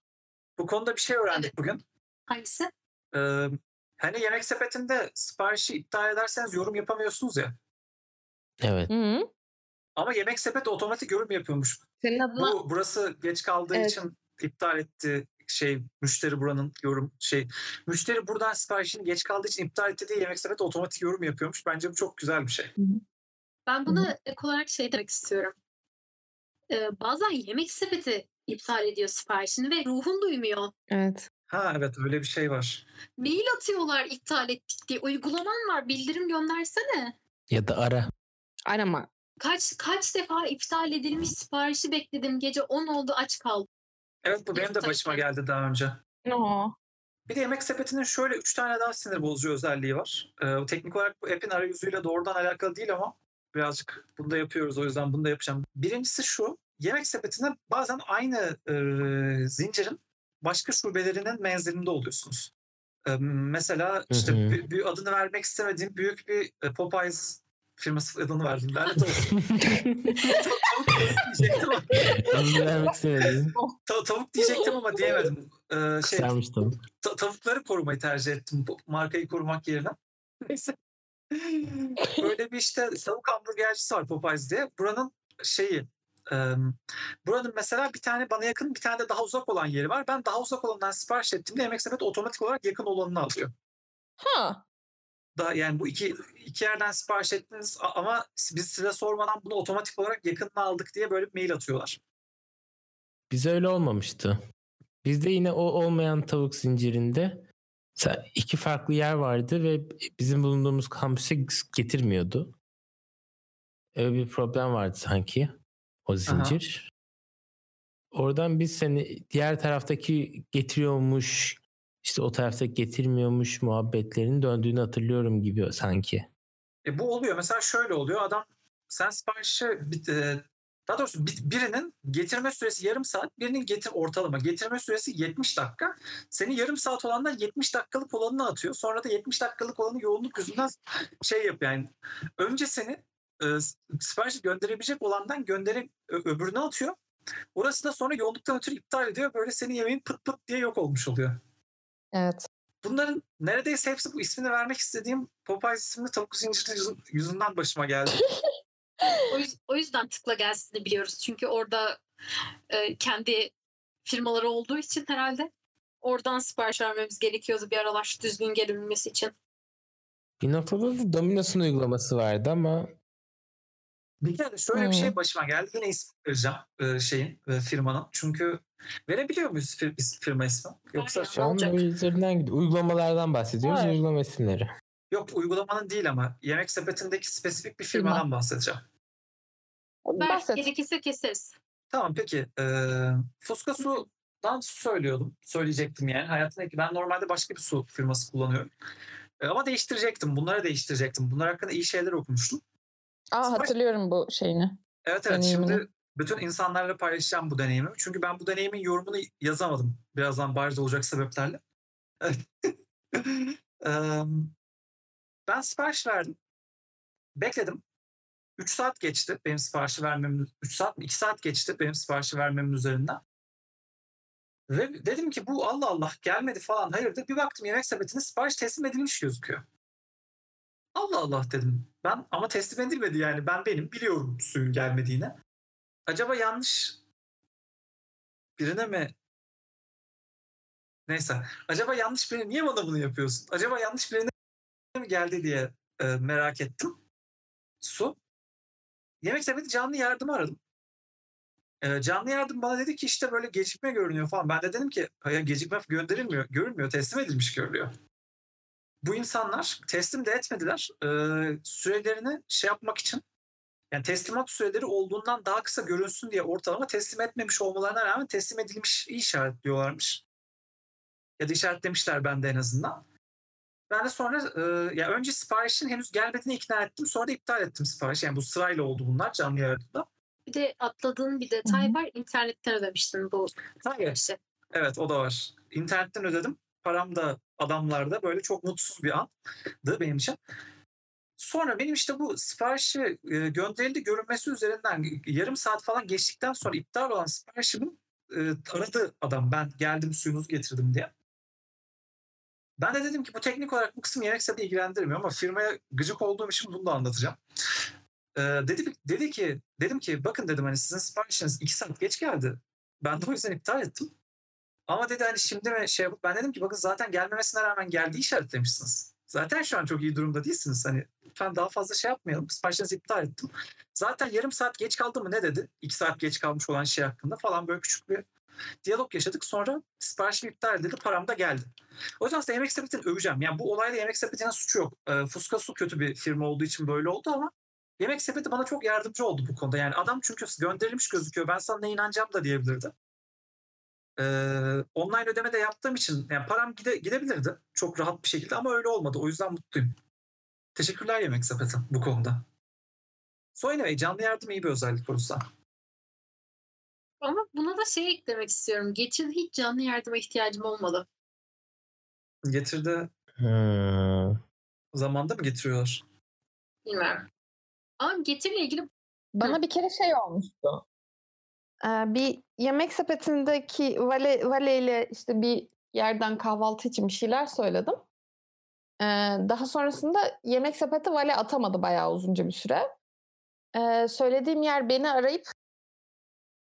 [SPEAKER 3] bu konuda bir şey öğrendik bugün.
[SPEAKER 1] hangisi?
[SPEAKER 3] E, hani yemek sepetinde siparişi iptal ederseniz yorum yapamıyorsunuz ya.
[SPEAKER 5] Evet.
[SPEAKER 4] Hı.
[SPEAKER 3] Ama yemek sepeti otomatik yorum yapıyormuş.
[SPEAKER 4] Senin adına
[SPEAKER 3] Bu burası geç kaldığı
[SPEAKER 4] Evet.
[SPEAKER 3] için iptal etti şey müşteri buranın yorum şey müşteri buradan siparişini geç kaldığı için iptal etti diye yemek sepeti otomatik yorum yapıyormuş. Bence bu çok güzel bir şey.
[SPEAKER 1] Ben buna ek olarak şey demek istiyorum. Ee, bazen yemek sepeti iptal ediyor siparişini ve ruhun duymuyor.
[SPEAKER 4] evet.
[SPEAKER 3] Ha evet öyle bir şey var.
[SPEAKER 1] Mail atıyorlar iptal ettik diye. Uygulaman var bildirim göndersene.
[SPEAKER 5] Ya da ara.
[SPEAKER 4] Arama.
[SPEAKER 1] Kaç kaç defa iptal edilmiş siparişi bekledim. Gece 10 oldu aç kaldım.
[SPEAKER 3] Evet bu benim de
[SPEAKER 1] Yapacak
[SPEAKER 3] başıma
[SPEAKER 1] bir şey
[SPEAKER 3] geldi daha önce.
[SPEAKER 4] No.
[SPEAKER 3] Bir de yemek sepetinin şöyle üç tane daha sinir bozucu özelliği var. Ee, bu teknik olarak bu app'in arayüzüyle doğrudan alakalı değil ama birazcık bunu da yapıyoruz o yüzden bunu da yapacağım. Birincisi şu, yemek sepetine bazen aynı e, zincirin başka şubelerinin menzilinde oluyorsunuz. Ee, mesela işte
[SPEAKER 5] hı.
[SPEAKER 3] bir, bir adını vermek istemediğim büyük bir e, Popeyes firması adını verdim. Lanet olsun. Tavuk diyecektim ama-
[SPEAKER 5] Hazır vermek istemedim.
[SPEAKER 3] ta- tavuk diyecektim ama diyemedim. Ee, şey,
[SPEAKER 5] Kısarmıştım.
[SPEAKER 3] ta- tavukları korumayı tercih ettim bu markayı korumak yerine. Neyse. Böyle bir işte tavuk hamburgercisi var Popeyes diye. Buranın şeyi e, buranın mesela bir tane bana yakın bir tane de daha uzak olan yeri var. Ben daha uzak olandan sipariş ettiğimde yemek sepeti otomatik olarak yakın olanını alıyor.
[SPEAKER 4] Ha.
[SPEAKER 3] Daha yani bu iki iki yerden sipariş ettiniz a- ama biz size sormadan bunu otomatik olarak yakınına aldık diye böyle bir mail atıyorlar.
[SPEAKER 5] Bize öyle olmamıştı. Bizde yine o olmayan tavuk zincirinde sa- iki farklı yer vardı ve bizim bulunduğumuz kampüse getirmiyordu. Öyle bir problem vardı sanki o zincir. Oradan biz seni diğer taraftaki getiriyormuş işte o tarafta getirmiyormuş muhabbetlerin döndüğünü hatırlıyorum gibi sanki.
[SPEAKER 3] E bu oluyor. Mesela şöyle oluyor. Adam sen siparişi bit- e, daha doğrusu bit- birinin getirme süresi yarım saat, birinin getir ortalama getirme süresi 70 dakika. Seni yarım saat olandan 70 dakikalık olanına atıyor. Sonra da 70 dakikalık olanı yoğunluk yüzünden şey yapıyor yani. Önce seni e, s- siparişi gönderebilecek olandan gönderip ö- öbürüne atıyor. Orası da sonra yoğunluktan ötürü iptal ediyor. Böyle senin yemeğin pıt pıt diye yok olmuş oluyor.
[SPEAKER 6] Evet.
[SPEAKER 3] Bunların neredeyse hepsi bu ismini vermek istediğim Popeyes isimli tavuk zinciri yüzü- yüzünden başıma geldi.
[SPEAKER 1] O, yüz- o yüzden tıkla gelsin biliyoruz. Çünkü orada e, kendi firmaları olduğu için herhalde oradan sipariş vermemiz gerekiyordu bir aralar düzgün gelebilmesi için.
[SPEAKER 5] Bir noktada da Domino's'un uygulaması vardı ama
[SPEAKER 3] Bir kere de şöyle bir şey
[SPEAKER 6] Hmm.
[SPEAKER 3] başıma geldi. Yine isim vereceğim e, şeyin e, firmanın. Çünkü verebiliyor muyuz fir- is- firma ismi? Yoksa
[SPEAKER 1] Hayır.
[SPEAKER 5] şu an
[SPEAKER 1] Olacak.
[SPEAKER 5] öyle Şey üzerinden gidiyor. Uygulamalardan bahsediyoruz.
[SPEAKER 6] Evet.
[SPEAKER 5] Uygulama isimleri.
[SPEAKER 3] yok uygulamanın değil ama yemek sepetindeki spesifik bir
[SPEAKER 6] Firma.
[SPEAKER 3] firmadan bahsedeceğim.
[SPEAKER 1] Ver,
[SPEAKER 6] Bahset.
[SPEAKER 1] gerekirse keseriz.
[SPEAKER 3] Tamam peki. E, Fuska sudan su söylüyordum. Söyleyecektim yani. Hayatımdaki ben normalde başka bir su firması kullanıyorum. E, ama değiştirecektim. Bunları değiştirecektim. Bunlar hakkında iyi şeyler okumuştum.
[SPEAKER 6] Aa hatırlıyorum bu şeyini.
[SPEAKER 3] Evet evet
[SPEAKER 6] Deneyimini.
[SPEAKER 3] şimdi bütün insanlarla paylaşacağım bu deneyimi. Çünkü ben bu deneyimin yorumunu yazamadım. Birazdan bariz olacak sebeplerle. Em, ben sipariş verdim. Bekledim. 3 saat geçti benim siparişi vermemin 3 saat mi 2 saat geçti benim siparişi vermemin üzerinden. Ve dedim ki bu Allah Allah gelmedi falan hayırdır. Bir baktım yemek sepetinde sipariş teslim edilmiş gözüküyor. Allah Allah dedim. Ben ama teslim edilmedi yani. Ben benim biliyorum suyun gelmediğini. Acaba yanlış birine mi Neyse. Acaba yanlış birine niye bana bunu yapıyorsun? Acaba yanlış birine mi geldi diye e, merak ettim. Su. Yemek sepeti canlı yardım aradım. E, canlı yardım bana dedi ki işte böyle gecikme görünüyor falan. Ben de dedim ki hayır gecikme gönderilmiyor, görünmüyor, teslim edilmiş görülüyor bu insanlar teslim de etmediler. Ee, sürelerini şey yapmak için yani teslimat süreleri olduğundan daha kısa görünsün diye ortalama teslim etmemiş olmalarına rağmen teslim edilmiş işaretliyorlarmış. Ya da işaretlemişler bende en azından. Ben de sonra e, ya önce siparişin henüz gelmediğini ikna ettim. Sonra da iptal ettim siparişi. Yani bu sırayla oldu bunlar canlı yayında.
[SPEAKER 1] Bir de atladığın bir detay var. İnternetten ödemiştin bu
[SPEAKER 3] Hayır.
[SPEAKER 1] işi.
[SPEAKER 3] Evet o da var. İnternetten ödedim. Param da adamlarda böyle çok mutsuz bir andı benim için. Sonra benim işte bu siparişi e, gönderildi görünmesi üzerinden yarım saat falan geçtikten sonra iptal olan siparişimin e, aradı adam. Ben geldim suyunuzu getirdim diye. Ben de dedim ki bu teknik olarak bu kısım yemek sepeti ilgilendirmiyor ama firmaya gıcık olduğum için bunu da anlatacağım. E, dedi, dedi ki dedim ki bakın dedim hani sizin siparişiniz iki saat geç geldi. Ben de o yüzden iptal ettim. Ama dedi hani şimdi mi şey yapıp ben dedim ki bakın zaten gelmemesine rağmen geldiği işaretlemişsiniz. Zaten şu an çok iyi durumda değilsiniz. Hani lütfen daha fazla şey yapmayalım. Siparişinizi iptal ettim. Zaten yarım saat geç kaldı mı ne dedi? İki saat geç kalmış olan şey hakkında falan böyle küçük bir diyalog yaşadık. Sonra siparişim iptal edildi. Param da geldi. O yüzden aslında Yemek Sepeti'ni öveceğim. Yani bu olayda Yemek Sepeti'nin suçu yok. Ee, Fuska Su kötü bir firma olduğu için böyle oldu ama Yemek Sepeti bana çok yardımcı oldu bu konuda. Yani adam çünkü gönderilmiş gözüküyor. Ben sana ne inanacağım da diyebilirdi. Ee, online ödeme de yaptığım için yani param gide, gidebilirdi çok rahat bir şekilde ama öyle olmadı. O yüzden mutluyum. Teşekkürler Yemek Sepeti bu konuda. So anyway, canlı yardım iyi bir özellik konusunda.
[SPEAKER 1] Ama buna da şey eklemek istiyorum. Geçirdi hiç canlı yardıma ihtiyacım olmadı.
[SPEAKER 3] Getirdi
[SPEAKER 5] Hmm.
[SPEAKER 3] zamanda mı getiriyorlar?
[SPEAKER 1] Bilmiyorum. Ama getirle ilgili
[SPEAKER 6] Bana bir kere şey olmuştu.
[SPEAKER 4] Ee, bir yemek sepetindeki vale, valeyle işte bir yerden kahvaltı için bir şeyler söyledim. Ee, daha sonrasında yemek sepeti vale atamadı bayağı uzunca bir süre. Ee, söylediğim yer beni arayıp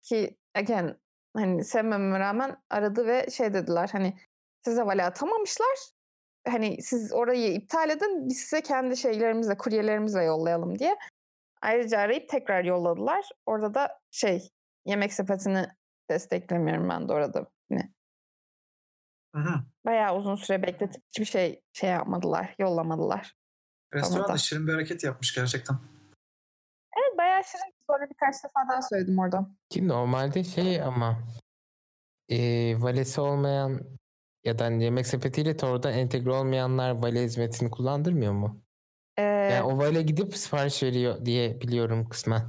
[SPEAKER 4] ki again hani sevmememe rağmen aradı ve şey dediler hani size vale atamamışlar. Hani siz orayı iptal edin biz size kendi şeylerimizle kuryelerimizle yollayalım diye. Ayrıca arayıp tekrar yolladılar. Orada da şey yemek sepetini desteklemiyorum ben de orada. Yine
[SPEAKER 3] Hı-hı.
[SPEAKER 4] Bayağı uzun süre bekletip hiçbir şey şey yapmadılar, yollamadılar.
[SPEAKER 3] Restoran da
[SPEAKER 4] Tamam.
[SPEAKER 3] şirin bir hareket yapmış gerçekten.
[SPEAKER 4] Evet bayağı şirin. Sonra birkaç defa daha söyledim orada.
[SPEAKER 5] Ki normalde şey ama e, valesi olmayan ya da hani yemek sepetiyle torda entegre olmayanlar vale hizmetini kullandırmıyor mu?
[SPEAKER 4] Ee,
[SPEAKER 5] Yani o vale gidip sipariş veriyor diye biliyorum kısmen.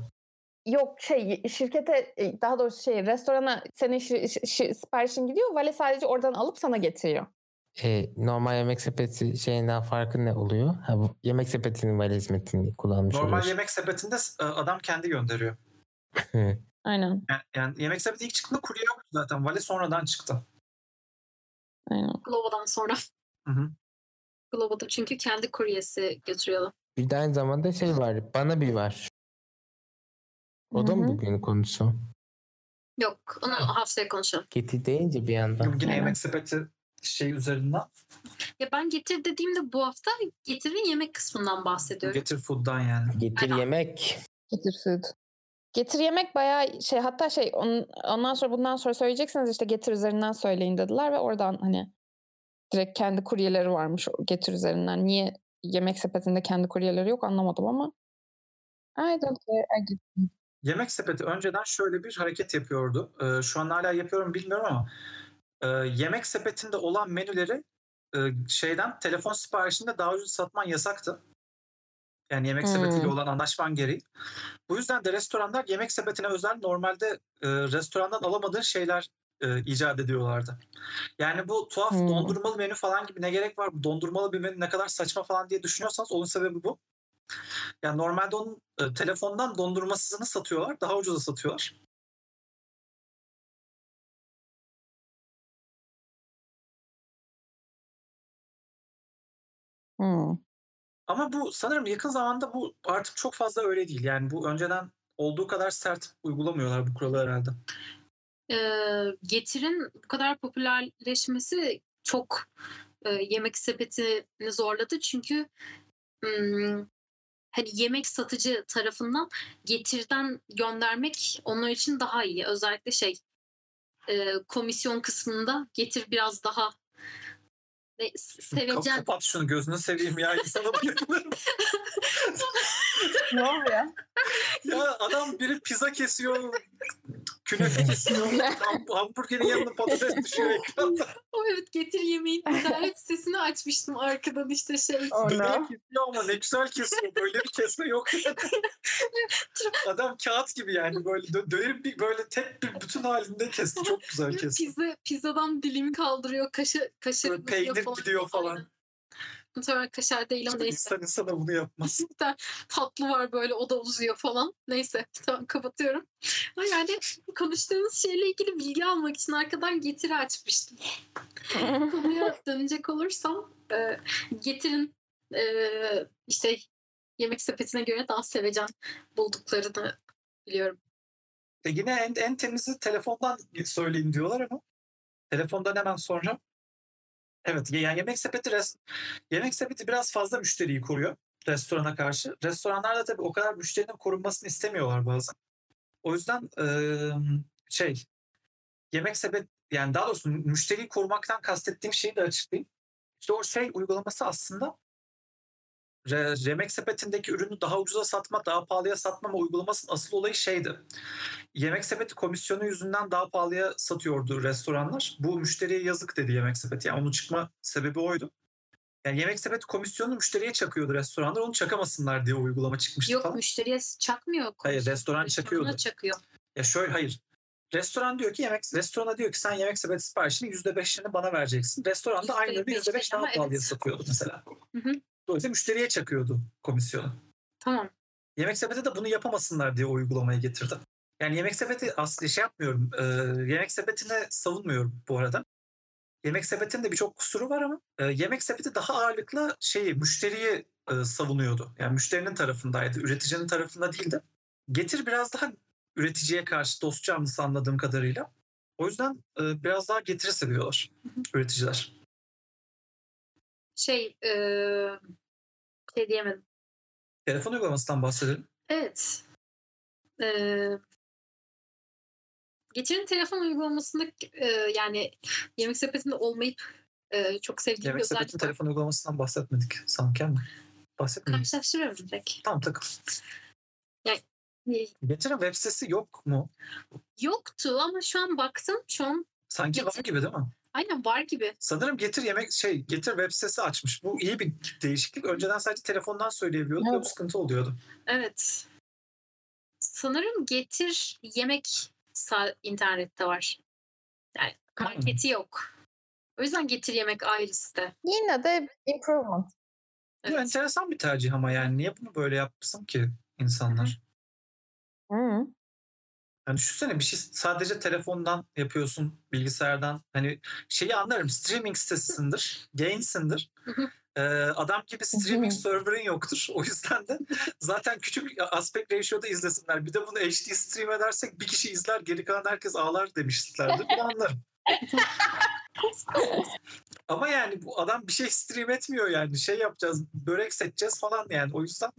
[SPEAKER 4] Yok şey şirkete e, daha doğrusu şey restorana senin şi- şi- şi- siparişin gidiyor. Vale sadece oradan alıp sana getiriyor.
[SPEAKER 5] E, normal yemek sepeti şeyinden farkı ne oluyor? Ha, bu yemek sepetinin vale hizmetini kullanmış
[SPEAKER 3] Normal
[SPEAKER 5] oluyorsun.
[SPEAKER 3] yemek sepetinde e, adam kendi gönderiyor.
[SPEAKER 6] Aynen.
[SPEAKER 3] Yani, yani yemek sepeti ilk çıktığında kurye yoktu zaten. Vale sonradan çıktı.
[SPEAKER 6] Aynen.
[SPEAKER 1] Glovo'dan sonra.
[SPEAKER 3] Hı hı.
[SPEAKER 1] Glovo'da çünkü kendi kuryesi götürüyorlar.
[SPEAKER 5] Bir de aynı zamanda şey var. Bana bir ver. O da
[SPEAKER 6] Hı
[SPEAKER 5] mı
[SPEAKER 6] hı.
[SPEAKER 5] bugün konusu?
[SPEAKER 1] Yok onu haftaya konuşalım.
[SPEAKER 5] Getir deyince bir yandan.
[SPEAKER 3] Yine
[SPEAKER 6] Aynen.
[SPEAKER 3] yemek sepeti şey üzerinden
[SPEAKER 1] Ya ben getir dediğimde bu hafta getirin yemek kısmından bahsediyorum.
[SPEAKER 3] getir food'dan yani.
[SPEAKER 5] Getir
[SPEAKER 1] Aynen.
[SPEAKER 5] yemek.
[SPEAKER 6] Getir food.
[SPEAKER 4] Getir yemek bayağı şey hatta şey on- ondan sonra bundan sonra söyleyeceksiniz işte getir üzerinden söyleyin dediler ve oradan hani direkt kendi kuryeleri varmış o getir üzerinden. Niye yemek sepetinde kendi kuryeleri yok anlamadım ama I don't care. I get-
[SPEAKER 3] Yemek sepeti önceden şöyle bir hareket yapıyordu. Ee, şu an hala yapıyorum bilmiyorum ama e, yemek sepetinde olan menüleri e, şeyden telefon siparişinde daha ucuz satman yasaktı. Yani yemek
[SPEAKER 6] Hmm.
[SPEAKER 3] sepetiyle olan anlaşman gereği. Bu yüzden de restoranlar yemek sepetine özel normalde e, restorandan alamadığı şeyler e, icat ediyorlardı. Yani bu tuhaf
[SPEAKER 6] Hmm.
[SPEAKER 3] dondurmalı menü falan gibi ne gerek var? Bu dondurmalı bir menü ne kadar saçma falan diye düşünüyorsanız onun sebebi bu. Yani normalde onun e, telefondan dondurmasızını satıyorlar. Daha ucuza satıyorlar.
[SPEAKER 6] Hmm.
[SPEAKER 3] Ama bu sanırım yakın zamanda bu artık çok fazla öyle değil. Yani bu önceden olduğu kadar sert uygulamıyorlar bu kuralı herhalde.
[SPEAKER 1] Ee, getirin bu kadar popülerleşmesi çok e, yemek sepetini zorladı. Çünkü hmm, hani yemek satıcı tarafından getirden göndermek onlar için daha iyi. Özellikle şey e, komisyon kısmında getir biraz daha e, s-
[SPEAKER 3] Kap-
[SPEAKER 1] sevecen
[SPEAKER 3] Kapat şunu gözünü seveyim ya insana bayılırım.
[SPEAKER 4] ne oluyor?
[SPEAKER 3] ya adam biri pizza kesiyor, künefe kesiyor, ham- hamburgerin yanına patates düşüyor ekranda.
[SPEAKER 1] O Oh, evet getir yemeğin ticaret sitesini açmıştım arkadan işte şey
[SPEAKER 3] Döner kesiyor ama ne güzel kesiyor. Böyle bir kesme yok. adam kağıt gibi yani böyle dö- döneri bir böyle tek bir bütün halinde kesti. Çok güzel kesti.
[SPEAKER 1] pizza pizzadan dilimi kaldırıyor kaşı kaşarını
[SPEAKER 3] Böyle peynir
[SPEAKER 1] yiyor
[SPEAKER 3] gidiyor falan.
[SPEAKER 1] Aynen. Muhtemelen kaşar değil ama
[SPEAKER 3] İşte
[SPEAKER 1] neyse.
[SPEAKER 3] İnsan insana bunu yapmaz.
[SPEAKER 1] Bir tane tatlı var böyle o da uzuyor falan. Neyse tamam kapatıyorum. Ama yani konuştuğumuz şeyle ilgili bilgi almak için arkadan getiri açmıştım. Konuya dönecek olursam e, getirin e, işte yemek sepetine göre daha sevecen bulduklarını biliyorum.
[SPEAKER 3] E yine en, en temizi telefondan söyleyin diyorlar ama telefondan hemen sonra evet yani yemek sepeti res- yemek sepeti biraz fazla müşteriyi koruyor restorana karşı. Restoranlar da tabii o kadar müşterinin korunmasını istemiyorlar bazen. O yüzden eee, şey yemek sepet yani daha doğrusu müşteriyi korumaktan kastettiğim şeyi de açıklayayım. İşte o şey uygulaması aslında re- yemek sepetindeki ürünü daha ucuza satma, daha pahalıya satmama uygulamasının asıl olayı şeydi yemek sepeti komisyonu yüzünden daha pahalıya satıyordu restoranlar. Bu müşteriye yazık dedi yemek sepeti. Yani onun çıkma sebebi oydu. Yani yemek sepeti komisyonu müşteriye çakıyordu restoranlar. Onu çakamasınlar diye uygulama çıkmıştı
[SPEAKER 1] Yok
[SPEAKER 3] falan.
[SPEAKER 1] müşteriye çakmıyor.
[SPEAKER 3] Hayır restoran
[SPEAKER 1] Restorana
[SPEAKER 3] çakıyordu.
[SPEAKER 1] çakıyor.
[SPEAKER 3] Ya şöyle hayır. Restoran diyor ki yemek restorana diyor ki sen yemek sepeti siparişinin yüzde beşini bana vereceksin. Restoranda aynı ürünü yüzde
[SPEAKER 1] %5
[SPEAKER 3] beş daha
[SPEAKER 1] ama
[SPEAKER 3] pahalıya
[SPEAKER 1] evet.
[SPEAKER 3] satıyordu mesela.
[SPEAKER 1] Hı hı.
[SPEAKER 3] Dolayısıyla müşteriye çakıyordu komisyonu.
[SPEAKER 1] Tamam.
[SPEAKER 3] Yemek sepeti de bunu yapamasınlar diye o uygulamaya getirdi. Yani yemek sepeti aslında şey yapmıyorum. e, yemek sepetine savunmuyorum bu arada. Yemek sepetinde birçok kusuru var ama e, yemek sepeti daha ağırlıklı şeyi müşteriyi e, savunuyordu. Yani müşterinin tarafındaydı, üreticinin tarafında değildi. Getir biraz daha üreticiye karşı dostçamlısı anladığım kadarıyla. O yüzden e, biraz daha getiri seviyorlar üreticiler.
[SPEAKER 1] Şey, eee şey diyemedim.
[SPEAKER 3] Telefon uygulamasından bahsedelim.
[SPEAKER 1] Evet. Eee Geçerin telefon uygulamasında e, yani yemek sepetinde olmayıp e, çok sevdiğim
[SPEAKER 3] Yemek
[SPEAKER 1] bir
[SPEAKER 3] sepetin
[SPEAKER 1] özellik var.
[SPEAKER 3] telefon uygulamasından bahsetmedik sanki ama. Bahsetmedik.
[SPEAKER 1] Karşılaştırıyorum direkt.
[SPEAKER 3] Tamam takıl.
[SPEAKER 1] E,
[SPEAKER 3] Getir'in web sitesi yok mu?
[SPEAKER 1] Yoktu ama şu an baktım şu an
[SPEAKER 3] Sanki var
[SPEAKER 1] Getir.
[SPEAKER 3] gibi değil mi?
[SPEAKER 1] aynen var gibi.
[SPEAKER 3] Sanırım Getir yemek şey Getir web sitesi açmış. Bu iyi bir değişiklik. Önceden sadece telefondan söyleyebiliyorduk ve bu sıkıntı oluyordu.
[SPEAKER 1] Evet. Sanırım getir yemek sa- internette var. Yani
[SPEAKER 3] Hmm.
[SPEAKER 1] marketi yok. O yüzden getir yemek ailesi de.
[SPEAKER 4] Yine de improvement.
[SPEAKER 3] Bu
[SPEAKER 1] Evet.
[SPEAKER 3] enteresan bir tercih ama yani niye bunu böyle yapsın ki insanlar?
[SPEAKER 4] Hı.
[SPEAKER 3] Yani düşünsene bir şey sadece telefondan yapıyorsun, bilgisayardan. Hani şeyi anlarım streaming sitesindir, gainsindir.
[SPEAKER 1] Hı hı.
[SPEAKER 3] Ee, adam gibi streaming server'ın yoktur. O yüzden de zaten küçük aspect ratio'da izlesinler. Bir de bunu HD stream edersek bir kişi izler, geri kalan herkes ağlar demişlerdir. Bunu anlarım. Ama yani bu adam bir şey stream etmiyor yani. Şey yapacağız, börek seçeceğiz falan yani. O yüzden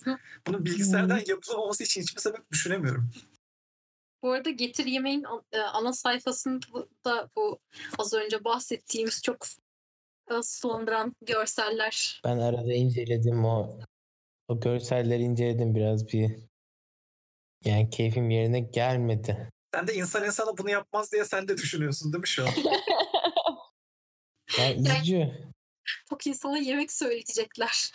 [SPEAKER 3] bunun bilgisayardan yapılamaması için hiçbir sebep düşünemiyorum.
[SPEAKER 1] Bu arada getir yemeğin an- e, ana sayfasında bu az önce bahsettiğimiz çok e, sulandıran görseller.
[SPEAKER 5] Ben arada inceledim o o görselleri inceledim biraz bir yani keyfim yerine gelmedi.
[SPEAKER 3] Sen de insan insana bunu yapmaz diye sen de düşünüyorsun değil mi şu an?
[SPEAKER 5] Yani üzücü.
[SPEAKER 1] Çok insana yemek söyletecekler.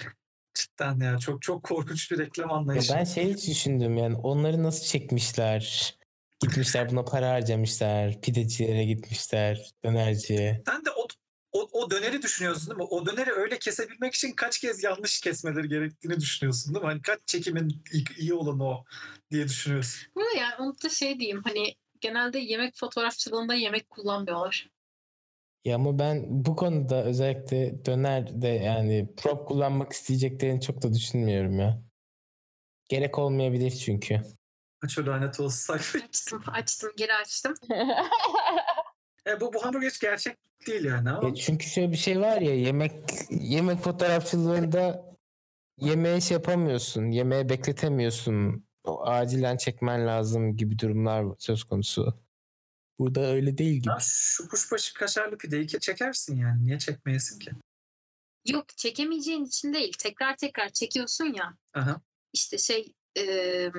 [SPEAKER 3] Cidden ya çok çok korkunç bir reklam
[SPEAKER 5] Ya
[SPEAKER 3] anlayışı.
[SPEAKER 5] ben şey hiç düşündüm yani onları nasıl çekmişler? Gitmişler buna para harcamışlar. Pidecilere gitmişler. Dönerciye.
[SPEAKER 3] Sen de o, o, o döneri düşünüyorsun değil mi? O döneri öyle kesebilmek için kaç kez yanlış kesmeleri gerektiğini düşünüyorsun değil mi? Hani kaç çekimin iyi, iyi olanı o diye düşünüyorsun.
[SPEAKER 1] Bu arada yani onu da şey diyeyim hani genelde yemek fotoğrafçılığında yemek kullanmıyorlar.
[SPEAKER 5] Ya ama ben bu konuda özellikle döner de yani prop kullanmak isteyeceklerini çok da düşünmüyorum ya. Gerek olmayabilir çünkü.
[SPEAKER 3] Kaç o lanet olsun sayfayı.
[SPEAKER 1] Açtım, açtım, geri açtım.
[SPEAKER 3] E, bu, bu hamburger hiç gerçek değil yani ama
[SPEAKER 5] Ya E, çünkü şöyle bir şey var ya yemek yemek fotoğrafçılığında yemeğe şey yapamıyorsun. Yemeğe bekletemiyorsun. O acilen çekmen lazım gibi durumlar söz konusu. Burada öyle değil gibi.
[SPEAKER 3] ya şu kuşbaşı kaşarlı pideyi ke- çekersin yani. Niye çekmeyesin ki?
[SPEAKER 1] Yok çekemeyeceğin için değil. Tekrar tekrar çekiyorsun ya.
[SPEAKER 3] Aha.
[SPEAKER 1] İşte şey eee,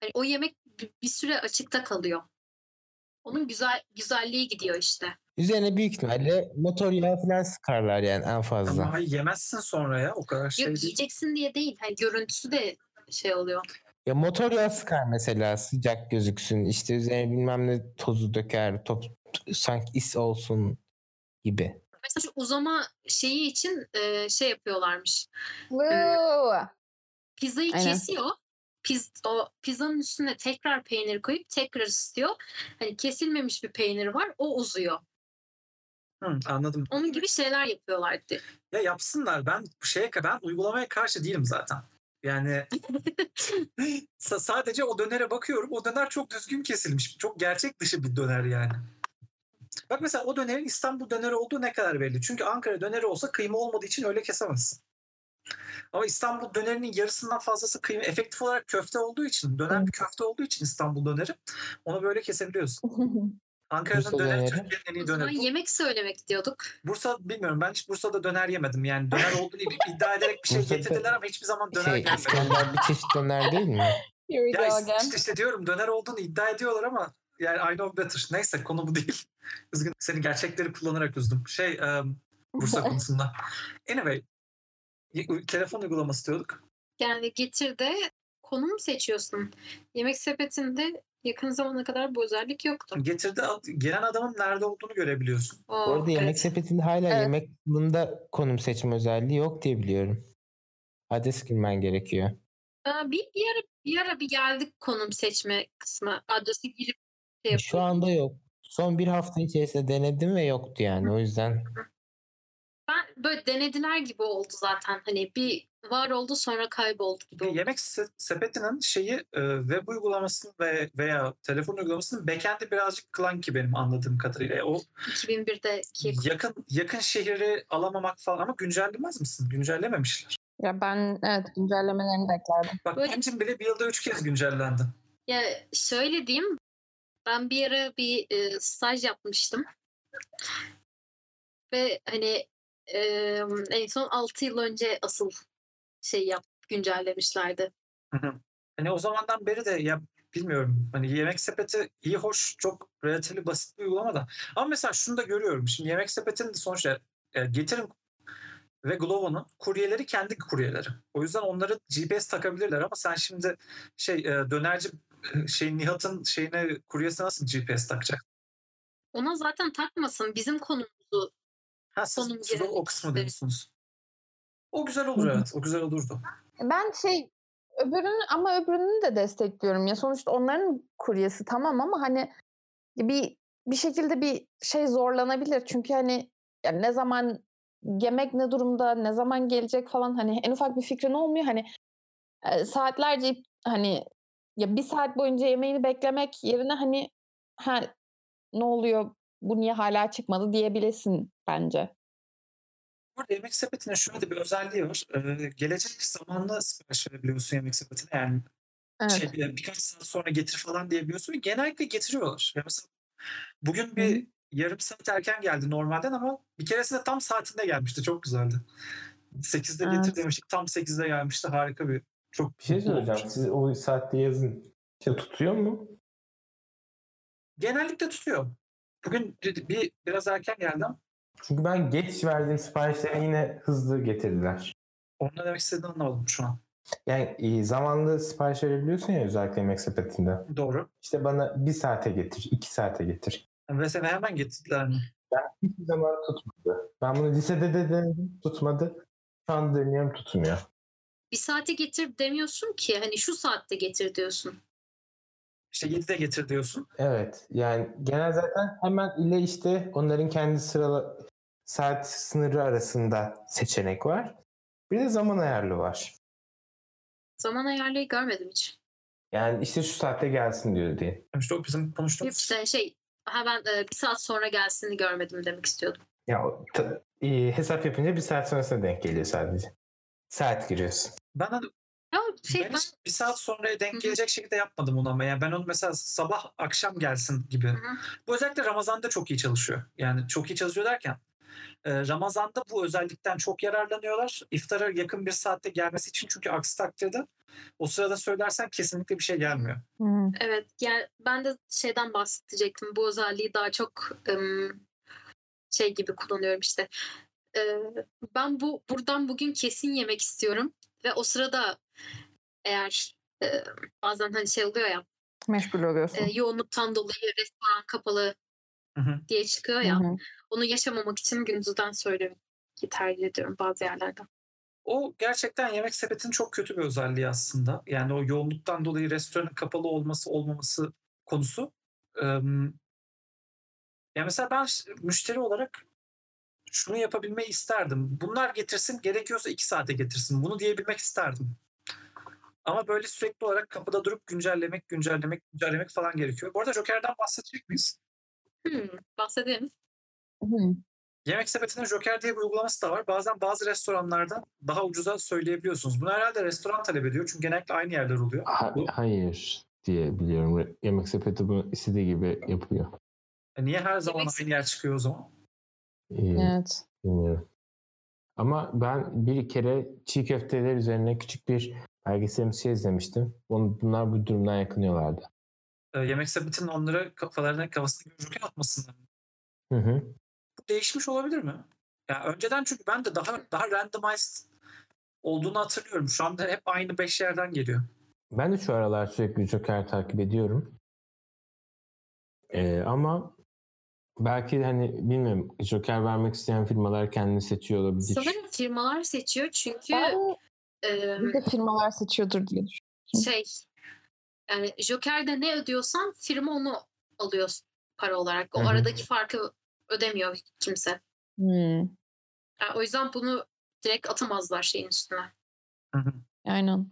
[SPEAKER 1] hani o yemek bi- bir süre açıkta kalıyor. Onun güzel güzelliği gidiyor işte.
[SPEAKER 5] Üzerine büyük ihtimalle motor yağı falan sıkarlar yani en
[SPEAKER 3] Ama
[SPEAKER 5] fazla.
[SPEAKER 3] hayır, yemezsin sonra ya. O kadar şey
[SPEAKER 1] Yok
[SPEAKER 3] değil.
[SPEAKER 1] yiyeceksin diye değil. Hani görüntüsü de şey oluyor.
[SPEAKER 5] Ya motor yağı sıkar mesela sıcak gözüksün. İşte üzerine bilmem ne tozu döker. Top, sanki is olsun gibi.
[SPEAKER 1] Mesela şu uzama şeyi için eee, şey yapıyorlarmış.
[SPEAKER 4] Woo.
[SPEAKER 1] Pizzayı
[SPEAKER 4] Aynen.
[SPEAKER 1] kesiyor. Piz, o pizzanın üstüne tekrar peynir koyup tekrar ısıtıyor. Hani kesilmemiş bir peynir var. O uzuyor.
[SPEAKER 3] Hı, anladım.
[SPEAKER 1] Onun gibi şeyler yapıyorlardı.
[SPEAKER 3] Ya yapsınlar. Ben bu şeye ben uygulamaya karşı değilim zaten. Yani sa- sadece o dönere bakıyorum. O döner çok düzgün kesilmiş. Çok gerçek dışı bir döner yani. Bak mesela o dönerin İstanbul döneri olduğu ne kadar belli. Çünkü Ankara döneri olsa kıyma olmadığı için öyle kesemezsin. Ama İstanbul dönerinin yarısından fazlası kıyma. Efektif olarak köfte olduğu için, döner bir köfte olduğu için İstanbul döneri onu böyle kesebiliyorsun. Ankara'nın
[SPEAKER 5] Bursa
[SPEAKER 3] döneri
[SPEAKER 5] döneri?
[SPEAKER 3] Türkiye'nin en
[SPEAKER 1] O
[SPEAKER 3] iyi
[SPEAKER 1] zaman
[SPEAKER 3] döneri.
[SPEAKER 1] yemek söylemek diyorduk.
[SPEAKER 3] Bursa bilmiyorum ben hiç Bursa'da döner yemedim. Yani döner olduğunu id- iddia ederek bir şey
[SPEAKER 5] Bursa'da-
[SPEAKER 3] getirdiler ama hiçbir zaman döner
[SPEAKER 5] Şey,
[SPEAKER 3] gelmedi.
[SPEAKER 5] İskender bir çeşit döner değil mi?
[SPEAKER 6] Here we
[SPEAKER 3] Ya
[SPEAKER 6] go
[SPEAKER 3] is-
[SPEAKER 6] again.
[SPEAKER 3] işte, işte diyorum döner olduğunu iddia ediyorlar ama yani I know better. Neyse konu bu değil. Üzgün seni gerçekleri kullanarak üzdüm. Şey e, Bursa konusunda. Anyway y- u- telefon uygulaması diyorduk.
[SPEAKER 1] Yani getir de konum seçiyorsun. Yemek sepetinde yakın zamana kadar bu özellik yoktu.
[SPEAKER 3] Getirdi ad- gelen adamın nerede olduğunu görebiliyorsun.
[SPEAKER 1] Oo,
[SPEAKER 5] Bu arada yemek
[SPEAKER 1] evet.
[SPEAKER 5] sepetinde hala
[SPEAKER 4] Evet.
[SPEAKER 5] yemek bunda konum seçme özelliği yok diye biliyorum. Adres girmen gerekiyor.
[SPEAKER 1] Aa, bir, bir, ara, bir ara bir geldik konum seçme kısmı. Adresi girip şey
[SPEAKER 5] Şu anda yok. Son bir hafta içerisinde denedim ve yoktu yani. O yüzden
[SPEAKER 1] Ben böyle denediler gibi oldu zaten. Hani bir var oldu sonra kayboldu gibi oldu.
[SPEAKER 3] Yemek se- sepetinin şeyi e, web uygulamasının ve veya telefon uygulamasının backend'i birazcık clunky benim anladığım kadarıyla. E, O
[SPEAKER 1] 2001'deki
[SPEAKER 3] Yakın yakın şehri alamamak falan ama güncellemez misin? Güncellememişler.
[SPEAKER 4] Ya ben evet güncellemelerini beklerdim.
[SPEAKER 3] Bak
[SPEAKER 1] Böyle-
[SPEAKER 3] Pentium bile bir yılda üç kez güncellendi.
[SPEAKER 1] Ya şöyle diyeyim Ben bir ara bir e, staj yapmıştım. Ve hani e, en son 6 yıl önce asıl şey yap güncellemişlerdi.
[SPEAKER 3] Hani o zamandan beri de ya bilmiyorum hani yemek sepeti iyi hoş çok relatifli basit bir uygulama da. Ama mesela şunu da görüyorum. Şimdi yemek sepetinin de sonuçta e, getirin ve Glovo'nun kuryeleri kendi kuryeleri. O yüzden onları GPS takabilirler ama sen şimdi şey e, dönerci e, şey Nihat'ın şeyine kuryesine nasıl GPS takacak?
[SPEAKER 1] Ona zaten takmasın. Bizim konum
[SPEAKER 3] Ha, siz,
[SPEAKER 1] Konum
[SPEAKER 3] siz o, o
[SPEAKER 1] gerek
[SPEAKER 3] kısmı
[SPEAKER 1] işte.
[SPEAKER 3] diyorsunuz. O güzel olur evet. O güzel olurdu.
[SPEAKER 4] Ben şey öbürünü ama öbürünü de destekliyorum ya sonuçta onların kuryesi tamam ama hani bir bir şekilde bir şey zorlanabilir çünkü hani yani ne zaman yemek ne durumda ne zaman gelecek falan hani en ufak bir fikrin olmuyor hani e, saatlerce ip- hani ya bir saat boyunca yemeğini beklemek yerine hani ha ne oluyor bu niye hala çıkmadı diyebilesin bence.
[SPEAKER 3] Burada yemek sepetinin şöyle de bir özelliği var. Ee, gelecek zamanla sipariş verebiliyorsun yemek sepetine. Yani
[SPEAKER 4] Evet.
[SPEAKER 3] şey, e, birkaç saat sonra getir falan diyebiliyorsun. Ve Genellikle getiriyorlar. Ya mesela bugün bir yarım saat erken geldi normalden ama bir keresinde tam saatinde gelmişti. Çok güzeldi. 8'de
[SPEAKER 4] Evet.
[SPEAKER 3] getir demiştik. Tam 8'de gelmişti. Harika bir çok
[SPEAKER 5] Bir şey
[SPEAKER 3] mutlu
[SPEAKER 5] söyleyeceğim.
[SPEAKER 3] olmuştum.
[SPEAKER 5] Siz o saatte yazın. İşte tutuyor mu?
[SPEAKER 3] Genellikle tutuyor. Bugün bir, bir- biraz erken geldim.
[SPEAKER 5] Çünkü ben geç verdiğim siparişleri yine hızlı getirdiler.
[SPEAKER 3] Onunla demek istediğini anlamadım şu an.
[SPEAKER 5] Yani e, zamanlı sipariş verebiliyorsun ya özellikle yemek sepetinde.
[SPEAKER 3] Doğru.
[SPEAKER 5] İşte bana bir saate getir, iki saate getir.
[SPEAKER 3] Ve sana hemen getirdiler mi?
[SPEAKER 5] Hiçbir zaman tutmadı. Ben bunu lisede de denedim, tutmadı. Şu an deniyorum tutmuyor.
[SPEAKER 1] bir saate getir demiyorsun ki hani şu saatte getir diyorsun.
[SPEAKER 3] İşte 7'de getir diyorsun.
[SPEAKER 5] Evet yani genel zaten hemen ile işte onların kendi sıra saat sınırı arasında seçenek var. Bir de zaman ayarlı var.
[SPEAKER 1] Zaman ayarlayı görmedim hiç.
[SPEAKER 5] Yani işte şu saatte gelsin diyor diye.
[SPEAKER 3] İşte o bizim konuştuğumuz.
[SPEAKER 1] İşte şey ha ben e, bir saat sonra gelsin görmedim demek istiyordum.
[SPEAKER 5] Ya o ta- e, hesap yapınca bir saat sonrasına denk geliyor sadece. Saat giriyorsun.
[SPEAKER 3] Ben, onu-
[SPEAKER 1] Ya şey
[SPEAKER 3] ben
[SPEAKER 1] ben,
[SPEAKER 3] hiç bir saat sonra
[SPEAKER 1] Hı hı.
[SPEAKER 3] denk gelecek şekilde yapmadım onu ama. Yani ben onu mesela sabah akşam gelsin gibi.
[SPEAKER 1] hı.
[SPEAKER 3] Bu özellikle Ramazan'da çok iyi çalışıyor. Yani çok iyi çalışıyor derken e, Ramazan'da bu özellikten çok yararlanıyorlar. İftara yakın bir saatte gelmesi için çünkü aksi takdirde o sırada söylersen kesinlikle bir şey gelmiyor.
[SPEAKER 4] Hı.
[SPEAKER 1] evet yani ben de şeyden bahsedecektim. Bu özelliği daha çok ım, şey gibi kullanıyorum işte. E, ben bu buradan bugün kesin yemek istiyorum ve o sırada eğer e, bazen hani şey oluyor ya
[SPEAKER 4] Meşgul oluyorsun.
[SPEAKER 1] e, yoğunluktan dolayı restoran kapalı
[SPEAKER 3] Hı hı.
[SPEAKER 1] diye çıkıyor
[SPEAKER 4] Hı
[SPEAKER 1] ya.
[SPEAKER 4] hı.
[SPEAKER 1] Onu yaşamamak için gündüzden söylemeyi tercih ediyorum bazı yerlerde.
[SPEAKER 3] O gerçekten yemek sepetinin çok kötü bir özelliği aslında. Yani o yoğunluktan dolayı restoranın kapalı olması olmaması konusu. Em, ya mesela ben ş- müşteri olarak şunu yapabilmeyi isterdim. Bunlar getirsin gerekiyorsa iki saate getirsin. Bunu diyebilmek isterdim. Ama böyle sürekli olarak kapıda durup güncellemek, güncellemek, güncellemek falan gerekiyor. Bu arada Joker'den bahsedecek miyiz?
[SPEAKER 1] Hmm, bahsedelim.
[SPEAKER 4] Hı.
[SPEAKER 3] Yemek sepetinin Joker diye bir uygulaması da var. Bazen bazı restoranlarda daha ucuza söyleyebiliyorsunuz. Bunu herhalde restoran talep ediyor. Çünkü genellikle aynı yerler oluyor. Bu-
[SPEAKER 5] hayır diye biliyorum. Re- Yemek sepeti bunu istediği gibi yapıyor.
[SPEAKER 3] E Niye her zaman
[SPEAKER 1] Yemek
[SPEAKER 3] aynı yer çıkıyor o zaman?
[SPEAKER 5] Ee,
[SPEAKER 4] Evet.
[SPEAKER 5] bilmiyorum. Ama ben bir kere çiğ köfteler üzerine küçük bir belgeselimsi izlemiştim. Onu, bunlar bu durumdan yakınıyorlardı.
[SPEAKER 3] E, yemek sepetinin onları kafalarına kafasına göre roket atmasınlar.
[SPEAKER 5] Hı hı.
[SPEAKER 3] Bu değişmiş olabilir mi? Ya önceden çünkü ben de daha daha randomized olduğunu hatırlıyorum. Şu anda hep aynı beş yerden geliyor.
[SPEAKER 5] Ben de şu aralar sürekli Joker takip ediyorum. Ee, ama belki hani bilmiyorum Joker vermek isteyen firmalar kendini seçiyor olabilir.
[SPEAKER 1] Sanırım firmalar seçiyor çünkü
[SPEAKER 4] Ben
[SPEAKER 1] e,
[SPEAKER 4] bir de firmalar seçiyordur diye düşünüyorum.
[SPEAKER 1] şey yani Joker'de ne ödüyorsan firma onu alıyor para olarak. O
[SPEAKER 5] Hı hı.
[SPEAKER 1] aradaki farkı ödemiyor kimse.
[SPEAKER 4] Hmm.
[SPEAKER 1] Yani o yüzden bunu direkt atamazlar şeyin üstüne.
[SPEAKER 4] Aynen.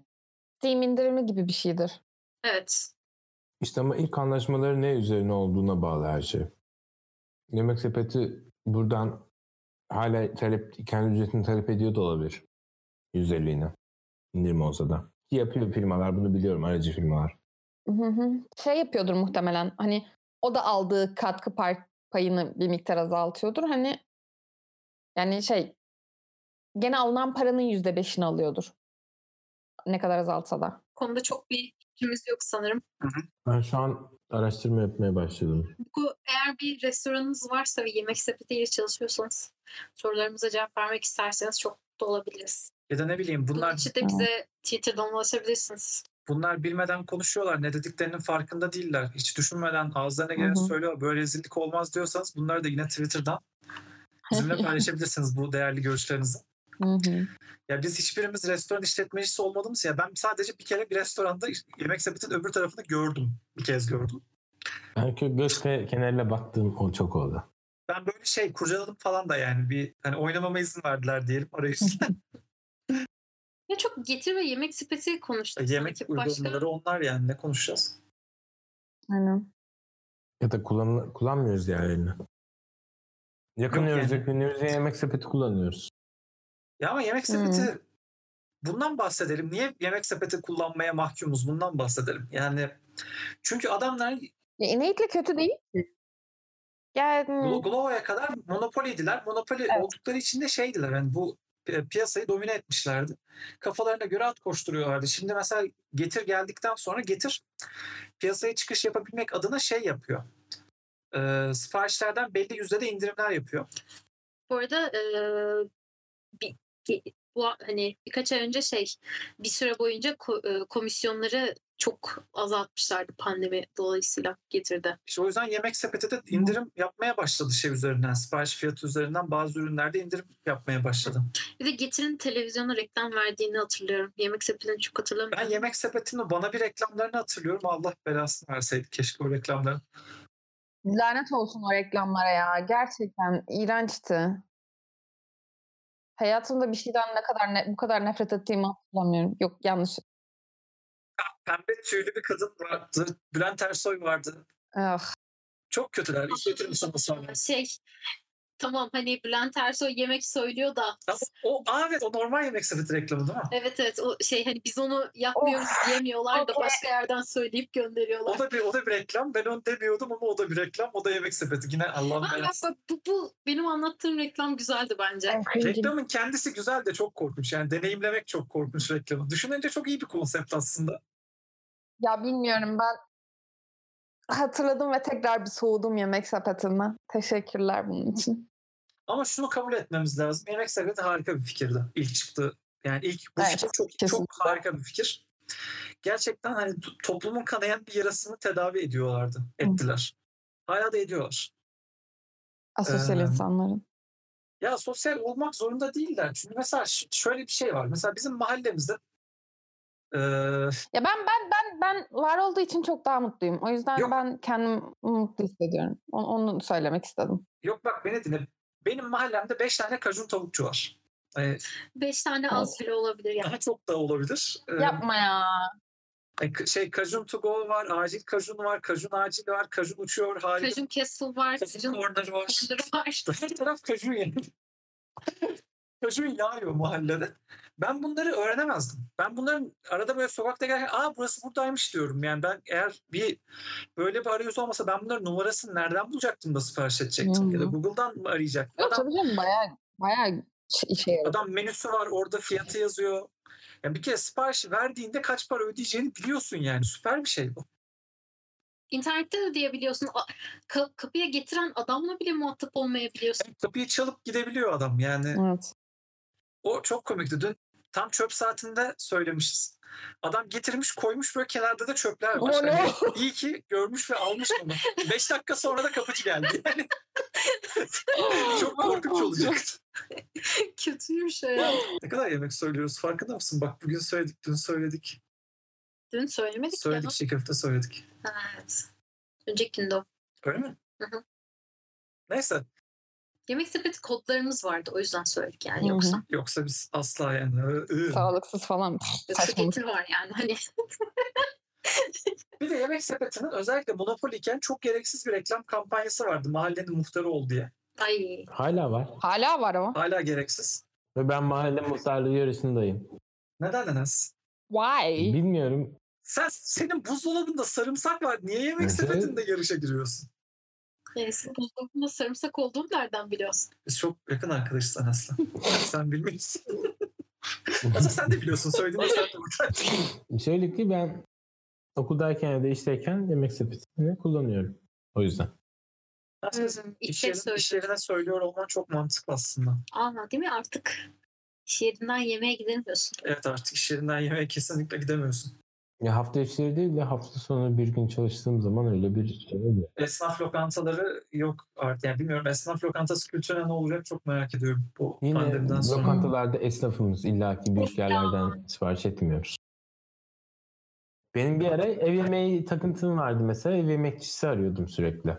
[SPEAKER 4] Steam indirimi gibi bir şeydir.
[SPEAKER 1] Evet.
[SPEAKER 5] İşte ama ilk anlaşmaları ne üzerine olduğuna bağlı her şey. Yemek sepeti buradan hala talep, kendi ücretini talep ediyor da olabilir. 150'ine. İndirim olsa da. Ki Yapıyor firmalar bunu biliyorum aracı firmalar.
[SPEAKER 4] Hı hı. Şey yapıyordur muhtemelen hani o da aldığı katkı par- payını bir miktar azaltıyordur. Hani yani şey gene alınan paranın yüzde beşini alıyordur. Ne kadar azaltsa da.
[SPEAKER 1] Konuda çok bir fikrimiz yok sanırım.
[SPEAKER 5] Ben şu an araştırma yapmaya başladım.
[SPEAKER 1] Bu eğer bir restoranınız varsa ve yemek sepetiyle çalışıyorsanız sorularımıza cevap vermek isterseniz çok da olabiliriz.
[SPEAKER 3] Ya da ne bileyim
[SPEAKER 1] Bunlar
[SPEAKER 3] bunlar
[SPEAKER 1] için de bize Twitter'dan ulaşabilirsiniz.
[SPEAKER 3] bunlar bilmeden konuşuyorlar. Ne dediklerinin farkında değiller. Hiç düşünmeden ağızlarına geleni
[SPEAKER 4] Hı hı.
[SPEAKER 3] söylüyor. Böyle rezillik olmaz diyorsanız bunları da yine Twitter'dan bizimle paylaşabilirsiniz bu değerli görüşlerinizi.
[SPEAKER 4] Hı hı.
[SPEAKER 3] Ya biz hiçbirimiz restoran işletmecisi olmadığımız ya ben sadece bir kere bir restoranda yemek sepetinin öbür tarafını gördüm. Bir kez gördüm.
[SPEAKER 5] Ben kö- göz ke- kenarıyla baktığım o çok oldu.
[SPEAKER 3] Ben böyle şey kurcaladım falan da yani bir hani oynamama izin verdiler diyelim arayüzde.
[SPEAKER 1] Ya çok getir ve yemek sepeti konuştuk.
[SPEAKER 3] Yemek
[SPEAKER 1] sanki.
[SPEAKER 3] uygulamaları onlar yani ne konuşacağız?
[SPEAKER 4] Aynen.
[SPEAKER 5] Ya da kullan kullanmıyoruz yerlerini. Yakınıyoruz,
[SPEAKER 3] yani.
[SPEAKER 5] yakınıyoruz ya yemek sepeti kullanıyoruz.
[SPEAKER 3] Ya ama yemek sepeti bundan bahsedelim. Niye yemek sepeti kullanmaya mahkumuz? Bundan bahsedelim. Yani çünkü adamlar
[SPEAKER 4] Ya innately kötü değil ki. Yani
[SPEAKER 3] Glo- Glovo'ya kadar monopoliydiler. Monopoli oldukları için de şeydiler. Yani bu pi- piyasayı domine etmişlerdi. Kafalarına göre at koşturuyorlardı. Şimdi mesela Getir geldikten sonra Getir piyasaya çıkış yapabilmek adına şey yapıyor. Ee, siparişlerden belli yüzde de indirimler yapıyor.
[SPEAKER 1] Bu arada e, bir, ge- bu a- hani birkaç ay önce şey bir süre boyunca ko- e, komisyonları çok azaltmışlardı pandemi dolayısıyla getirdi.
[SPEAKER 3] İşte o yüzden yemek sepeti de indirim yapmaya başladı şey üzerinden. Sipariş fiyatı üzerinden bazı ürünlerde indirim yapmaya başladı.
[SPEAKER 1] Bir de getirin televizyona reklam verdiğini hatırlıyorum. Yemek sepetini çok hatırlamıyorum.
[SPEAKER 3] Ben yemek sepetinin bana bir reklamlarını hatırlıyorum. Allah belasını verseydi keşke o reklamların.
[SPEAKER 4] lanet olsun o reklamlara ya. Gerçekten iğrençti. Hayatımda bir şeyden ne kadar ne, bu kadar nefret ettiğimi hatırlamıyorum. Yok yanlış.
[SPEAKER 3] Pembe tüylü bir kadın vardı. Bülent Ersoy vardı.
[SPEAKER 4] Ah.
[SPEAKER 3] Çok kötüler. İşletirim sana sonra.
[SPEAKER 1] Şey tamam hani Bülent Ersoy yemek söylüyor da
[SPEAKER 3] Ama o, aa, evet o normal yemek sepeti reklamı değil mi?
[SPEAKER 1] evet evet o şey hani biz onu yapmıyoruz diyemiyorlar da
[SPEAKER 4] Okey.
[SPEAKER 1] başka yerden söyleyip gönderiyorlar.
[SPEAKER 3] Oh. O da bir o da bir reklam. Ben onu demiyordum ama o da bir reklam. O da yemek sepeti. Yine Allah'ım
[SPEAKER 1] Ama
[SPEAKER 3] belası.
[SPEAKER 1] bak, bu, bu benim anlattığım reklam güzeldi bence.
[SPEAKER 3] Reklamın kendisi güzel de çok korkunç. Yani deneyimlemek çok korkunç reklamı. Düşününce çok iyi bir konsept aslında.
[SPEAKER 4] Ya bilmiyorum ben hatırladım ve tekrar bir soğudum yemek sepetinden. Teşekkürler bunun için.
[SPEAKER 3] Ama şunu kabul etmemiz lazım. Yemek sepeti harika bir fikirdi. İlk çıktı. Yani ilk bu
[SPEAKER 4] Evet,
[SPEAKER 3] fikir çok, çok
[SPEAKER 4] kesinlikle.
[SPEAKER 3] harika bir fikir. Gerçekten hani to- toplumun kanayan bir yarasını tedavi ediyorlardı. Ettiler. Hala da ediyorlar.
[SPEAKER 4] Asosyal
[SPEAKER 3] Ee,
[SPEAKER 4] insanların.
[SPEAKER 3] Ya sosyal olmak zorunda değiller. Çünkü mesela ş- şöyle bir şey var. Mesela bizim mahallemizde eee,
[SPEAKER 4] Ya ben ben ben ben var olduğu için çok daha mutluyum. O yüzden
[SPEAKER 3] Yok.
[SPEAKER 4] ben kendimi mutlu hissediyorum. Onu, onu söylemek istedim.
[SPEAKER 3] yok bak beni dinle. Benim mahallemde 5 tane kajun tavukçu var. Ee,
[SPEAKER 1] Beş tane az bile olabilir yani.
[SPEAKER 3] daha çok da olabilir. Ee,
[SPEAKER 4] Yapma ya.
[SPEAKER 3] e, k- şey kajun to go var, acil kajun var, kajun acil var, kajun uçuyor harika.
[SPEAKER 1] Kajun Castle var,
[SPEAKER 3] kajun
[SPEAKER 1] Kajun
[SPEAKER 3] corner var.
[SPEAKER 1] Corner var.
[SPEAKER 3] Her taraf kajun yani. kajun yağıyor mahallede. Ben bunları öğrenemezdim. Ben bunların arada böyle sokakta gelirken aa burası buradaymış diyorum. Yani ben eğer bir böyle bir arayüz olmasa ben bunların numarasını nereden bulacaktım da sipariş edecektim? Ya da
[SPEAKER 4] Hmm.
[SPEAKER 3] Google'dan mı arayacaktım?
[SPEAKER 4] Yok
[SPEAKER 3] Adam,
[SPEAKER 4] tabii canım bayağı bayağı şey- işe yarıyor.
[SPEAKER 3] adam menüsü var orada fiyatı yazıyor. Yani bir kere sipariş verdiğinde kaç para ödeyeceğini biliyorsun yani. Süper bir şey bu.
[SPEAKER 1] İnternette de diyebiliyorsun. A- ka- kapıya getiren adamla bile muhatap olmayabiliyorsun.
[SPEAKER 3] Kapıyı çalıp gidebiliyor adam yani.
[SPEAKER 4] Evet.
[SPEAKER 3] O çok komikti. Dün tam çöp saatinde söylemişiz. Adam getirmiş koymuş böyle kenarda da çöpler var.
[SPEAKER 4] Oley!
[SPEAKER 3] Hani iyi ki görmüş ve almış onu. Beş dakika sonra da kapıcı geldi. Yani çok korkunç olacaktı.
[SPEAKER 1] Kötüymüş ya.
[SPEAKER 3] Ne kadar yemek söylüyoruz farkında mısın? Bak bugün söyledik, dün söyledik.
[SPEAKER 1] Dün söylemedik
[SPEAKER 3] Söyledik, çiğ köfte söyledik.
[SPEAKER 1] ya. Evet. Önceki günde o.
[SPEAKER 3] Öyle mi?
[SPEAKER 1] Hı hı.
[SPEAKER 3] Neyse.
[SPEAKER 1] Yemek sepeti kodlarımız vardı. O yüzden söyledik
[SPEAKER 4] Hı
[SPEAKER 1] yani.
[SPEAKER 4] hı.
[SPEAKER 1] Yoksa,
[SPEAKER 3] Yoksa biz asla yani. ı- ı-
[SPEAKER 4] Sağlıksız falan.
[SPEAKER 1] yoksa
[SPEAKER 4] Saçmalık.
[SPEAKER 1] getir var yani. Hani
[SPEAKER 3] Bir de yemek sepetinin özellikle Monopoly iken çok gereksiz bir reklam kampanyası vardı. Mahallenin muhtarı ol diye.
[SPEAKER 1] ay
[SPEAKER 5] Hala var.
[SPEAKER 4] Hala var ama.
[SPEAKER 3] Hala gereksiz.
[SPEAKER 5] Ve ben mahalle muhtarlığı yarışındayım.
[SPEAKER 3] Neden Enes?
[SPEAKER 4] Why?
[SPEAKER 5] Bilmiyorum.
[SPEAKER 3] Sen senin buzdolabında sarımsak var. Niye yemek
[SPEAKER 5] Evet.
[SPEAKER 3] sepetinde yarışa giriyorsun?
[SPEAKER 1] Neyse. Buzdolabında sarımsak olduğunu nereden biliyorsun?
[SPEAKER 3] Biz çok yakın arkadaşız Aslı. sen bilmiyorsun. Aslında sen de biliyorsun. Söyledim ya sen de burada.
[SPEAKER 5] Şöyle ki ben okuldayken ya da işteyken yemek sepetini kullanıyorum. O yüzden.
[SPEAKER 3] Aslında iş,
[SPEAKER 1] İçeri
[SPEAKER 3] yerine, iş
[SPEAKER 1] söylüyorum.
[SPEAKER 3] yerine söylüyor olman çok mantıklı aslında.
[SPEAKER 1] Aa değil mi? Artık iş yerinden yemeğe gidemiyorsun.
[SPEAKER 3] Evet artık iş yerinden yemeğe kesinlikle gidemiyorsun.
[SPEAKER 5] Ya hafta içleri değil de hafta sonu bir gün çalıştığım zaman öyle bir şey oluyor.
[SPEAKER 3] Esnaf lokantaları yok artık. Yani bilmiyorum esnaf lokantası kültürüne ne olacak çok merak ediyorum bu
[SPEAKER 5] Yine
[SPEAKER 3] pandemiden sonra.
[SPEAKER 5] lokantalarda esnafımız illaki büyük yerlerden sipariş etmiyoruz. Benim bir ara ev yemeği takıntım vardı mesela. Ev yemekçisi arıyordum sürekli.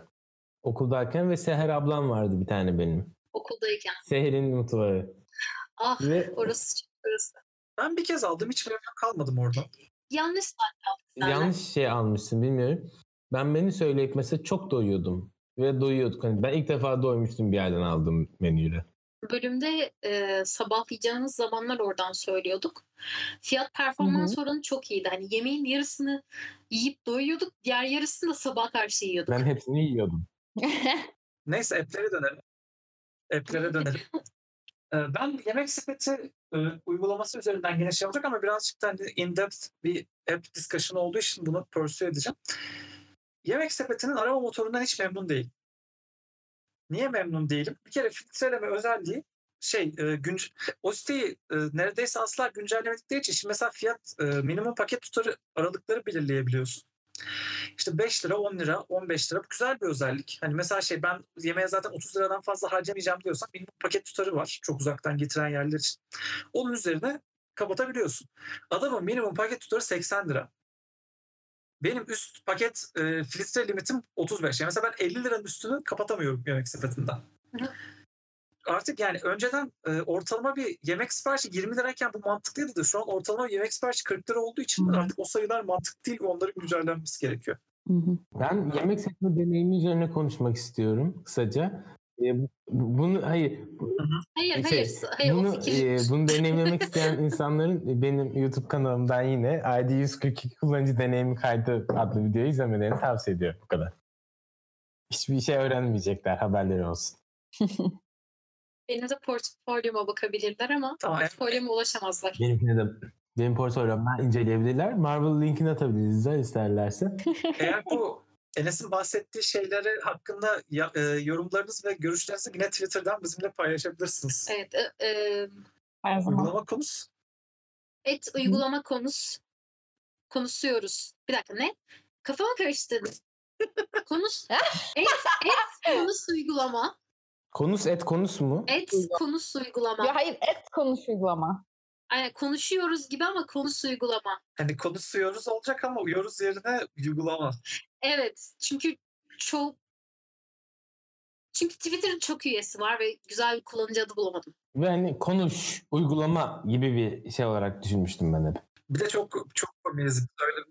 [SPEAKER 5] Okuldayken ve Seher ablam vardı bir tane benim.
[SPEAKER 1] Okuldayken.
[SPEAKER 5] Seher'in mutfağı.
[SPEAKER 1] Ah
[SPEAKER 5] Ve
[SPEAKER 1] orası çok orası.
[SPEAKER 3] Ben bir kez aldım hiç memnun kalmadım oradan.
[SPEAKER 1] Yanlış saat aldık. Yanlış.
[SPEAKER 5] yanlış şey almışsın bilmiyorum. Ben menü söyleyip mesela çok doyuyordum. Ve doyuyorduk. Hani ben ilk defa doymuştum bir yerden aldığım menüyle.
[SPEAKER 1] Bölümde e, sabahlayacağımız zamanlar oradan söylüyorduk. Fiyat performans oranı çok iyiydi. Hani yemeğin yarısını yiyip doyuyorduk. Diğer yarısını da sabah karşı yiyorduk.
[SPEAKER 5] Ben hepsini yiyordum.
[SPEAKER 3] Neyse app'lere dönelim. App'lere dönelim. Ee, ben yemek sepeti e, uygulaması üzerinden gene şey olacak ama birazcık da hani in-depth bir app discussion olduğu için bunu pursue edeceğim. Yemek sepetinin arama motorundan hiç memnun değil. Niye memnun değilim? Bir kere filtreleme özelliği şey e, günc- o siteyi e, neredeyse asla güncellemedikleri için şimdi mesela fiyat e, minimum paket tutarı aralıkları belirleyebiliyorsun. İşte 5 lira, 10 lira, 15 lira. Bu güzel bir özellik. Hani mesela şey ben yemeğe zaten 30 liradan fazla harcamayacağım diyorsan minimum paket tutarı var. Çok uzaktan getiren yerler için. Onun üzerine kapatabiliyorsun. Adamın minimum paket tutarı 80 lira. Benim üst paket e, filtre limitim 35. Yani mesela ben 50 liranın üstünü kapatamıyorum yemek sepetinden.
[SPEAKER 1] Hı.
[SPEAKER 3] Artık yani önceden e, ortalama bir yemek siparişi 20 lirayken bu mantıklıydı da şu an ortalama bir yemek siparişi 40 lira olduğu için artık o sayılar mantıklı değil ve onların güncellenmesi gerekiyor.
[SPEAKER 5] Ben yemek sektörü deneyimi üzerine konuşmak istiyorum kısaca. E, bu- bunu hayır bu-
[SPEAKER 1] Hayır
[SPEAKER 5] şey,
[SPEAKER 1] hayır. hayır
[SPEAKER 5] bunu,
[SPEAKER 1] o fikir.
[SPEAKER 5] e, bunu deneyimlemek isteyen insanların e, benim YouTube kanalımdan yine ID 142 kullanıcı deneyimi kaydı adlı videoyu izlemelerini tavsiye ediyorum bu kadar. Hiçbir şey öğrenmeyecekler haberleri olsun.
[SPEAKER 1] Benim de portfolyoma bakabilirler ama
[SPEAKER 3] Tamam.
[SPEAKER 1] portfolyoma ulaşamazlar.
[SPEAKER 5] Benimkine de benim portfolyomdan inceleyebilirler. Marvel linkini atabiliriz de isterlerse.
[SPEAKER 3] Eğer bu Enes'in bahsettiği şeyleri hakkında ya- e, yorumlarınız ve görüşlerinizi yine Twitter'dan bizimle paylaşabilirsiniz.
[SPEAKER 1] Evet. e, e,
[SPEAKER 4] Her zaman.
[SPEAKER 3] Uygulama konusu.
[SPEAKER 1] et uygulama konus konuşuyoruz. Bir dakika ne? Kafama karıştırdın. Konus et et konus uygulama.
[SPEAKER 5] Konus et konus mu?
[SPEAKER 1] Et konus uygulama.
[SPEAKER 4] Ya hayır et konuş uygulama.
[SPEAKER 1] Aynen, konuşuyoruz gibi ama konus uygulama.
[SPEAKER 3] Hani konuşuyoruz olacak ama uyoruz yerine uygulama.
[SPEAKER 1] Evet. Çünkü çok çünkü Twitter'ın çok üyesi var ve güzel bir kullanıcı adı bulamadım.
[SPEAKER 5] Ve hani konuş, uygulama gibi bir şey olarak düşünmüştüm ben hep.
[SPEAKER 3] Bir de çok çok komiyiz. biz Öyle.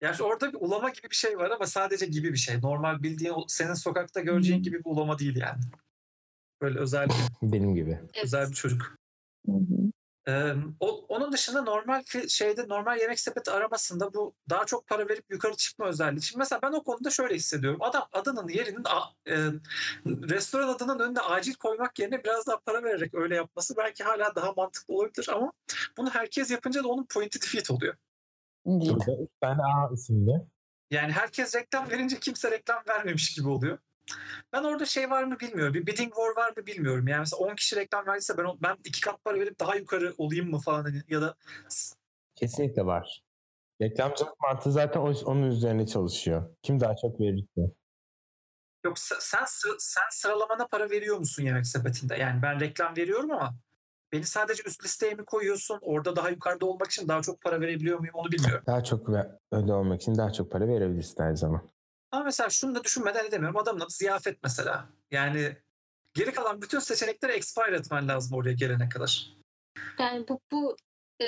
[SPEAKER 3] Yani şu orada bir ulama gibi bir şey var ama sadece gibi bir şey. Normal bildiğin o- senin sokakta göreceğin gibi bir ulama değil yani. Böyle özel bir,
[SPEAKER 5] Benim gibi.
[SPEAKER 1] Evet.
[SPEAKER 3] özel bir çocuk. Ee, o- onun dışında normal fi- şeyde normal yemek sepeti aramasında bu daha çok para verip yukarı çıkma özelliği. Şimdi mesela ben o konuda şöyle hissediyorum. Adam adının yerinin a- e, restoran adının önünde acil koymak yerine biraz daha para vererek öyle yapması belki hala daha mantıklı olabilir ama bunu herkes yapınca da onun pointi defeat oluyor.
[SPEAKER 4] Değil.
[SPEAKER 5] Ben A isimli.
[SPEAKER 3] Yani herkes reklam verince kimse reklam vermemiş gibi oluyor. Ben orada şey var mı bilmiyorum. Bir bidding war var mı bilmiyorum. Yani mesela 10 kişi reklam verdiyse ben o- ben iki kat para verip daha yukarı olayım mı falan hani ya da
[SPEAKER 5] Kesinlikle var. Reklamcılık mantığı zaten o- onun üzerine çalışıyor. Kim daha çok verirse.
[SPEAKER 3] Yok sen sen sı- sen sıralamana para veriyor musun yemek sepetinde? Yani ben reklam veriyorum ama beni sadece üst listeye mi koyuyorsun? Orada daha yukarıda olmak için daha çok para verebiliyor muyum onu bilmiyorum.
[SPEAKER 5] Daha çok ve öyle olmak için daha çok para verebilirsin her zaman.
[SPEAKER 3] Ama mesela şunu da düşünmeden edemiyorum. Adamın adı ziyafet mesela. Yani geri kalan bütün seçenekleri expire etmen lazım oraya gelene kadar.
[SPEAKER 1] Yani bu bu e,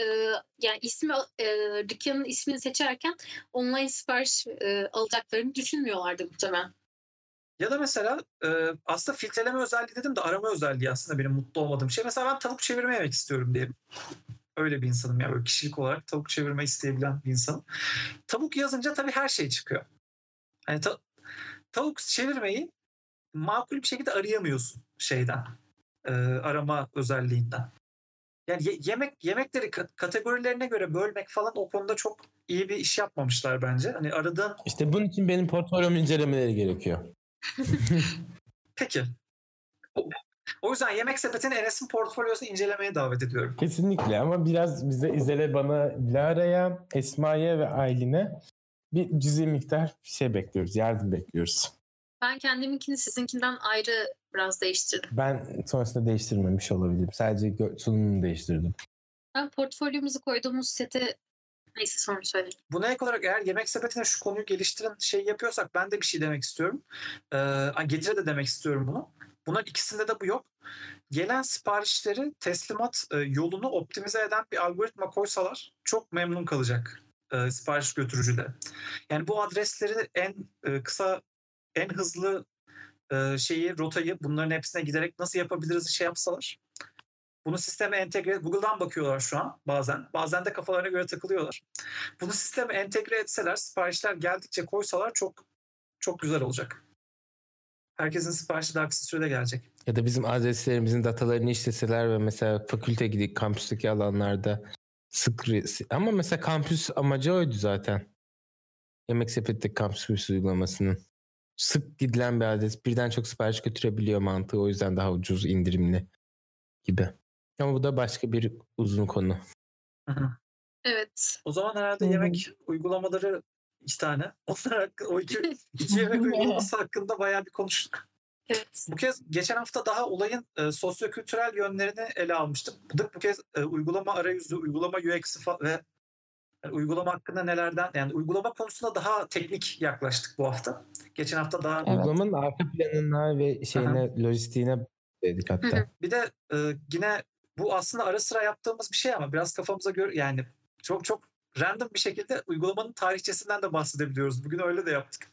[SPEAKER 1] yani ismi e, dükkanın ismini seçerken online sipariş e, alacaklarını düşünmüyorlardı muhtemelen.
[SPEAKER 3] Ya da mesela e, aslında filtreleme özelliği dedim de arama özelliği aslında benim mutlu olmadığım şey. Mesela ben tavuk çevirme yemek istiyorum diyelim. Öyle bir insanım ya böyle kişilik olarak tavuk çevirme isteyebilen bir insanım. Tavuk yazınca tabii her şey çıkıyor. Hani ta- tavuk çevirmeyi makul bir şekilde arayamıyorsun şeyden. e, arama özelliğinden. Yani ye- yemek yemekleri ka- kategorilerine göre bölmek falan o konuda çok iyi bir iş yapmamışlar bence. Hani aradığın
[SPEAKER 5] İşte bunun için benim portfolyom incelemeleri gerekiyor.
[SPEAKER 3] peki. O- O yüzden yemek sepetini Enes'in portfolyosunu incelemeye davet ediyorum.
[SPEAKER 5] Kesinlikle ama biraz bize İzel'e bana Lara'ya, Esma'ya ve Aylin'e bir cüzi miktar şey bekliyoruz. Yardım bekliyoruz.
[SPEAKER 1] Ben kendiminkini sizinkinden ayrı biraz değiştirdim.
[SPEAKER 5] Ben sonrasında değiştirmemiş olabilirim. Sadece gö- sunumumu değiştirdim.
[SPEAKER 1] Ben portfolyomuzu koyduğumuz sete neyse sonra söyleyeyim.
[SPEAKER 3] Buna ek olarak eğer yemek sepetine şu konuyu geliştirin şey yapıyorsak ben de bir şey demek istiyorum. Ee, ay, Getir'e de demek istiyorum bunu. Bunların ikisinde de bu yok. Gelen siparişleri teslimat e, yolunu optimize eden bir algoritma koysalar çok memnun kalacak e, sipariş götürücü de. Yani bu adresleri en e, kısa, en hızlı e, şeyi, rotayı bunların hepsine giderek nasıl yapabiliriz şey yapsalar. Bunu sisteme entegre, Google'dan bakıyorlar şu an bazen. Bazen de kafalarına göre takılıyorlar bunu sisteme entegre etseler, siparişler geldikçe koysalar çok çok güzel olacak. Herkesin siparişi daha kısa sürede gelecek.
[SPEAKER 5] Ya da bizim adreslerimizin datalarını işleseler ve mesela fakülte gidip kampüsteki alanlarda sık re- ama mesela kampüs amacı oydu zaten. Yemek sepeti kampüs uygulamasının. Sık gidilen bir adres birden çok sipariş götürebiliyor mantığı o yüzden daha ucuz indirimli gibi. Ama bu da başka bir uzun konu.
[SPEAKER 1] Evet.
[SPEAKER 3] O zaman herhalde
[SPEAKER 6] Hı hı.
[SPEAKER 3] yemek uygulamaları iki tane. Onlar hakkı, o iki, iki yemek uygulaması hakkında bayağı bir konuştuk.
[SPEAKER 1] Evet.
[SPEAKER 3] Bu kez geçen hafta daha olayın e, sosyokültürel yönlerini ele almıştım. Bu, da- bu kez e, uygulama arayüzü, uygulama UX'i fa- ve e, uygulama hakkında nelerden yani uygulama konusunda daha teknik yaklaştık bu hafta. Geçen hafta daha
[SPEAKER 6] Evet.
[SPEAKER 5] Uygulamanın arka planına ve şeyine lojistiğine dedik
[SPEAKER 1] Hı hı.
[SPEAKER 5] hatta.
[SPEAKER 3] Bir de e, yine bu aslında ara sıra yaptığımız bir şey ama biraz kafamıza göre yani çok çok random bir şekilde uygulamanın tarihçesinden de bahsedebiliyoruz. Bugün öyle de yaptık.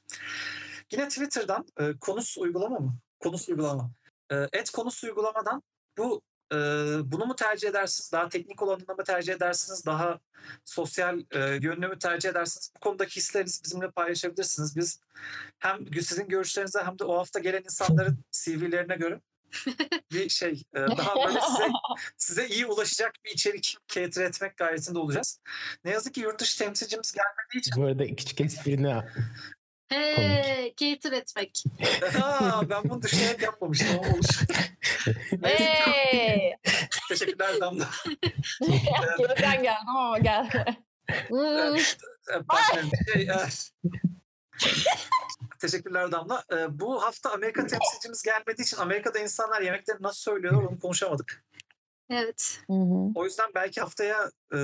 [SPEAKER 3] Yine Twitter'dan e, konus uygulama mı? Konus uygulama. E, et konus uygulamadan bu e, bunu mu tercih edersiniz? Daha teknik olanını mı tercih edersiniz? Daha sosyal e, yönünü mü tercih edersiniz? Bu konudaki hislerinizi bizimle paylaşabilirsiniz. Biz hem sizin görüşlerinize hem de o hafta gelen insanların CV'lerine göre bir şey e, daha böyle size, size iyi ulaşacak bir içerik cater etmek gayretinde olacağız. Ne yazık ki yurt dışı temsilcimiz gelmediği için
[SPEAKER 5] Bu arada küçük esprini
[SPEAKER 1] Hey, cater etmek.
[SPEAKER 3] Aa, ben bunu düşünerek yapmamıştım ama olur.
[SPEAKER 4] Ee?
[SPEAKER 3] Neyse,
[SPEAKER 4] Hey!
[SPEAKER 3] Teşekkürler Damla.
[SPEAKER 4] Geriden gel. Ha, gel. Hmm.
[SPEAKER 3] Ee, pardon, şey, e, Teşekkürler Damla. Ee, Bu hafta Amerika temsilcimiz gelmediği için Amerika'da insanlar yemekleri nasıl söylüyorlar onu konuşamadık.
[SPEAKER 1] Evet.
[SPEAKER 6] Hı hı.
[SPEAKER 3] O yüzden belki haftaya e,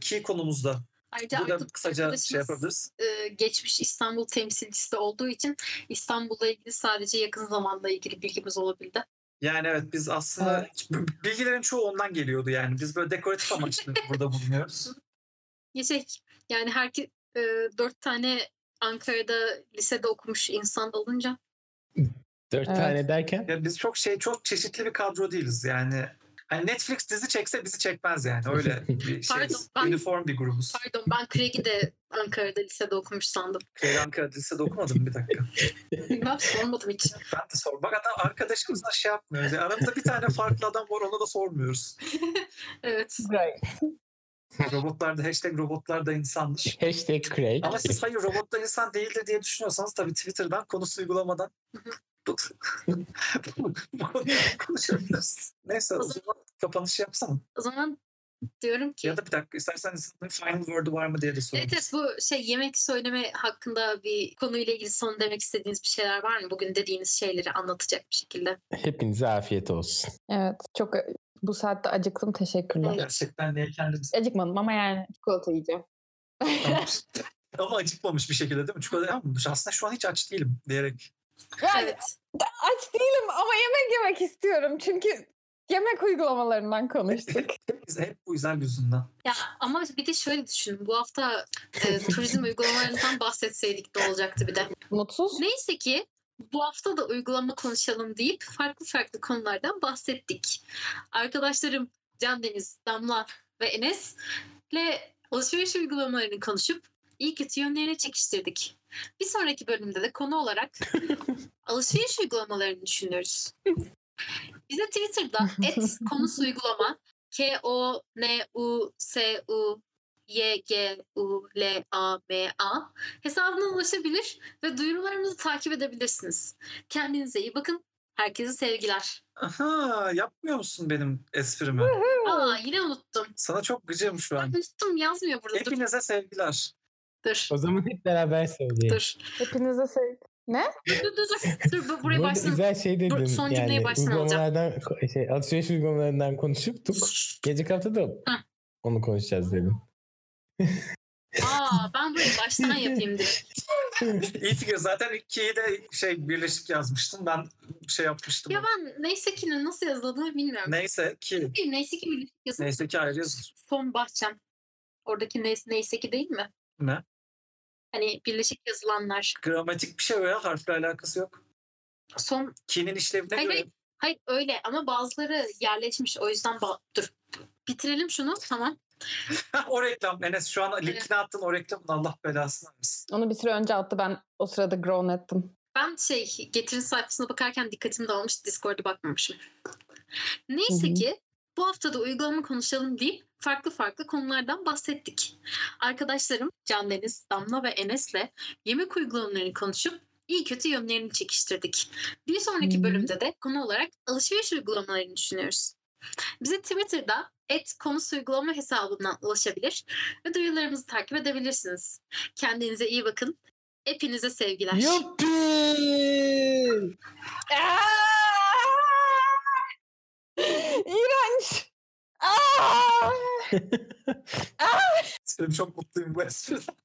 [SPEAKER 3] ki konumuzda
[SPEAKER 1] Ayrıca
[SPEAKER 3] burada
[SPEAKER 1] Aykut
[SPEAKER 3] kısaca şey
[SPEAKER 1] arkadaşımız-
[SPEAKER 3] yapabiliriz.
[SPEAKER 1] e, geçmiş İstanbul temsilcisi de olduğu için İstanbul'la ilgili sadece yakın zamanla ilgili bilgimiz olabildi.
[SPEAKER 3] Yani evet biz aslında bilgilerin çoğu ondan geliyordu yani. Biz böyle dekoratif amaçlı burada bulunuyoruz.
[SPEAKER 1] Ya şey yani herki e, dört tane Ankara'da lisede okumuş insan olunca
[SPEAKER 5] dört
[SPEAKER 6] Evet.
[SPEAKER 5] tane derken
[SPEAKER 3] Ya biz çok şey çok çeşitli bir kadro değiliz yani. Hani Netflix dizi çekse bizi çekmez yani. Öyle bir şey.
[SPEAKER 1] Pardon, ben-
[SPEAKER 3] Uniform bir grubuz.
[SPEAKER 1] pardon ben Craig'i de Ankara'da lisede okumuş sandım.
[SPEAKER 3] Keyran Ankara lisede okumadım bir dakika.
[SPEAKER 1] Bilmem sormadım hiç.
[SPEAKER 3] Ben de sor. Bak hatta arkadaşımızla şey yapmıyoruz. Yani aramızda bir tane farklı adam var ona da sormuyoruz.
[SPEAKER 1] Evet.
[SPEAKER 3] Robotlar da hashtag robotlar da insandır.
[SPEAKER 5] hashtag Craig.
[SPEAKER 3] Ama siz hayır robotlar insan değildir diye düşünüyorsanız tabii Twitter'dan konusu uygulamadan bu bu konuyu konuşabiliriz. Neyse o zaman kapanışı yapsana.
[SPEAKER 1] O zaman diyorum ki
[SPEAKER 3] Ya da bir dakika istersen insanların final word'u var mı diye de sorayım.
[SPEAKER 1] Evet, evet bu şey yemek söyleme hakkında bir konuyla ilgili son demek istediğiniz bir şeyler var mı? Bugün dediğiniz şeyleri anlatacak bir şekilde.
[SPEAKER 5] Hepinize afiyet olsun.
[SPEAKER 6] Evet. Çok bu saatte acıktım. Teşekkürler.
[SPEAKER 1] Evet.
[SPEAKER 3] Gerçekten niye kendimiz...
[SPEAKER 6] Acıkmadım ama yani çikolata yiyeceğim.
[SPEAKER 3] Ama acıkmamış bir şekilde değil mi? Çikolata yapmamış. Aslında şu an hiç aç değilim diyerek.
[SPEAKER 6] Yani
[SPEAKER 1] Evet.
[SPEAKER 6] aç değilim ama yemek yemek istiyorum. Çünkü yemek uygulamalarından konuştuk.
[SPEAKER 3] Biz hep bu yüzden yüzünden.
[SPEAKER 1] Ya ama bir de şöyle düşünün. Bu hafta e, turizm uygulamalarından bahsetseydik de olacaktı bir de.
[SPEAKER 6] Mutsuz.
[SPEAKER 1] Neyse ki bu hafta da uygulama konuşalım deyip farklı farklı konulardan bahsettik. Arkadaşlarım Can Deniz, Damla ve Enes'le alışveriş uygulamalarını konuşup iyi kötü yönlerine çekiştirdik. Bir sonraki bölümde de konu olarak alışveriş uygulamalarını düşünüyoruz. Bize Twitter'da et konusu uygulama K O N U S U Y G U L A M A hesabına ulaşabilir ve duyurularımızı takip edebilirsiniz. Kendinize iyi bakın. Herkese sevgiler.
[SPEAKER 3] Aha yapmıyor musun benim esprimi?
[SPEAKER 1] Aa yine unuttum.
[SPEAKER 3] Sana çok gıcığım şu an.
[SPEAKER 1] Unuttum yazmıyor burada. Dur.
[SPEAKER 3] Hepinize sevgiler.
[SPEAKER 1] Dur.
[SPEAKER 5] O zaman hep beraber söyleyelim.
[SPEAKER 1] Dur.
[SPEAKER 4] Hepinize sevgi.
[SPEAKER 1] Dur dur dur. Dur bu-
[SPEAKER 5] Bu
[SPEAKER 1] buraya
[SPEAKER 5] arada
[SPEAKER 1] başlayalım.
[SPEAKER 5] güzel şey dedin.
[SPEAKER 1] son
[SPEAKER 5] yani,
[SPEAKER 1] cümleyi baştan alacağım.
[SPEAKER 5] uygulamalardan, şey, alışveriş uygulamalarından konuşuptuk. Gelecek hafta da onu konuşacağız dedim.
[SPEAKER 1] Aa ben burayı baştan yapayım direkt.
[SPEAKER 3] İyi fikir. Zaten ikiyi de şey birleşik yazmıştın. Ben şey yapmıştım.
[SPEAKER 1] Ya ben neyse ki'nin nasıl yazıldığını bilmiyorum.
[SPEAKER 3] Neyse ki.
[SPEAKER 1] Bir neyse ki birleşik yazılı.
[SPEAKER 3] Neyse ki ayrı yazılır.
[SPEAKER 1] Son bahçem. Oradaki neyse, neyse ki değil mi?
[SPEAKER 3] Ne?
[SPEAKER 1] Hani birleşik yazılanlar.
[SPEAKER 3] Gramatik bir şey o ya. Harfle alakası yok.
[SPEAKER 1] Son
[SPEAKER 3] Ki'nin işlevine
[SPEAKER 1] Hayır,
[SPEAKER 3] göre.
[SPEAKER 1] hayır. Hayır öyle ama bazıları yerleşmiş o yüzden ba- dur. Bitirelim şunu tamam.
[SPEAKER 3] o reklam. Enes şu an linkini attın. O reklamın Allah belasını versin.
[SPEAKER 4] Onu bir süre önce attı ben o sırada grown ettim.
[SPEAKER 1] Ben şey getirin sayfasına bakarken dikkatim dağılmış Discord'a bakmamışım. Neyse
[SPEAKER 4] Hı hı.
[SPEAKER 1] ki bu haftada uygulama konuşalım deyip farklı farklı konulardan bahsettik. Arkadaşlarım Can Deniz, Damla ve Enes'le yemek uygulamalarını konuşup iyi kötü yönlerini çekiştirdik. Bir sonraki
[SPEAKER 4] Hı.
[SPEAKER 1] bölümde de konu olarak alışveriş uygulamalarını düşünüyoruz. Bize Twitter'da et konusu uygulama hesabından ulaşabilir ve duyularımızı takip edebilirsiniz. Kendinize iyi bakın. Hepinize sevgiler.
[SPEAKER 5] Yuppi!
[SPEAKER 6] İğrenç. Aa!
[SPEAKER 4] Oh!
[SPEAKER 3] Benim çok mutluyum bu espriden.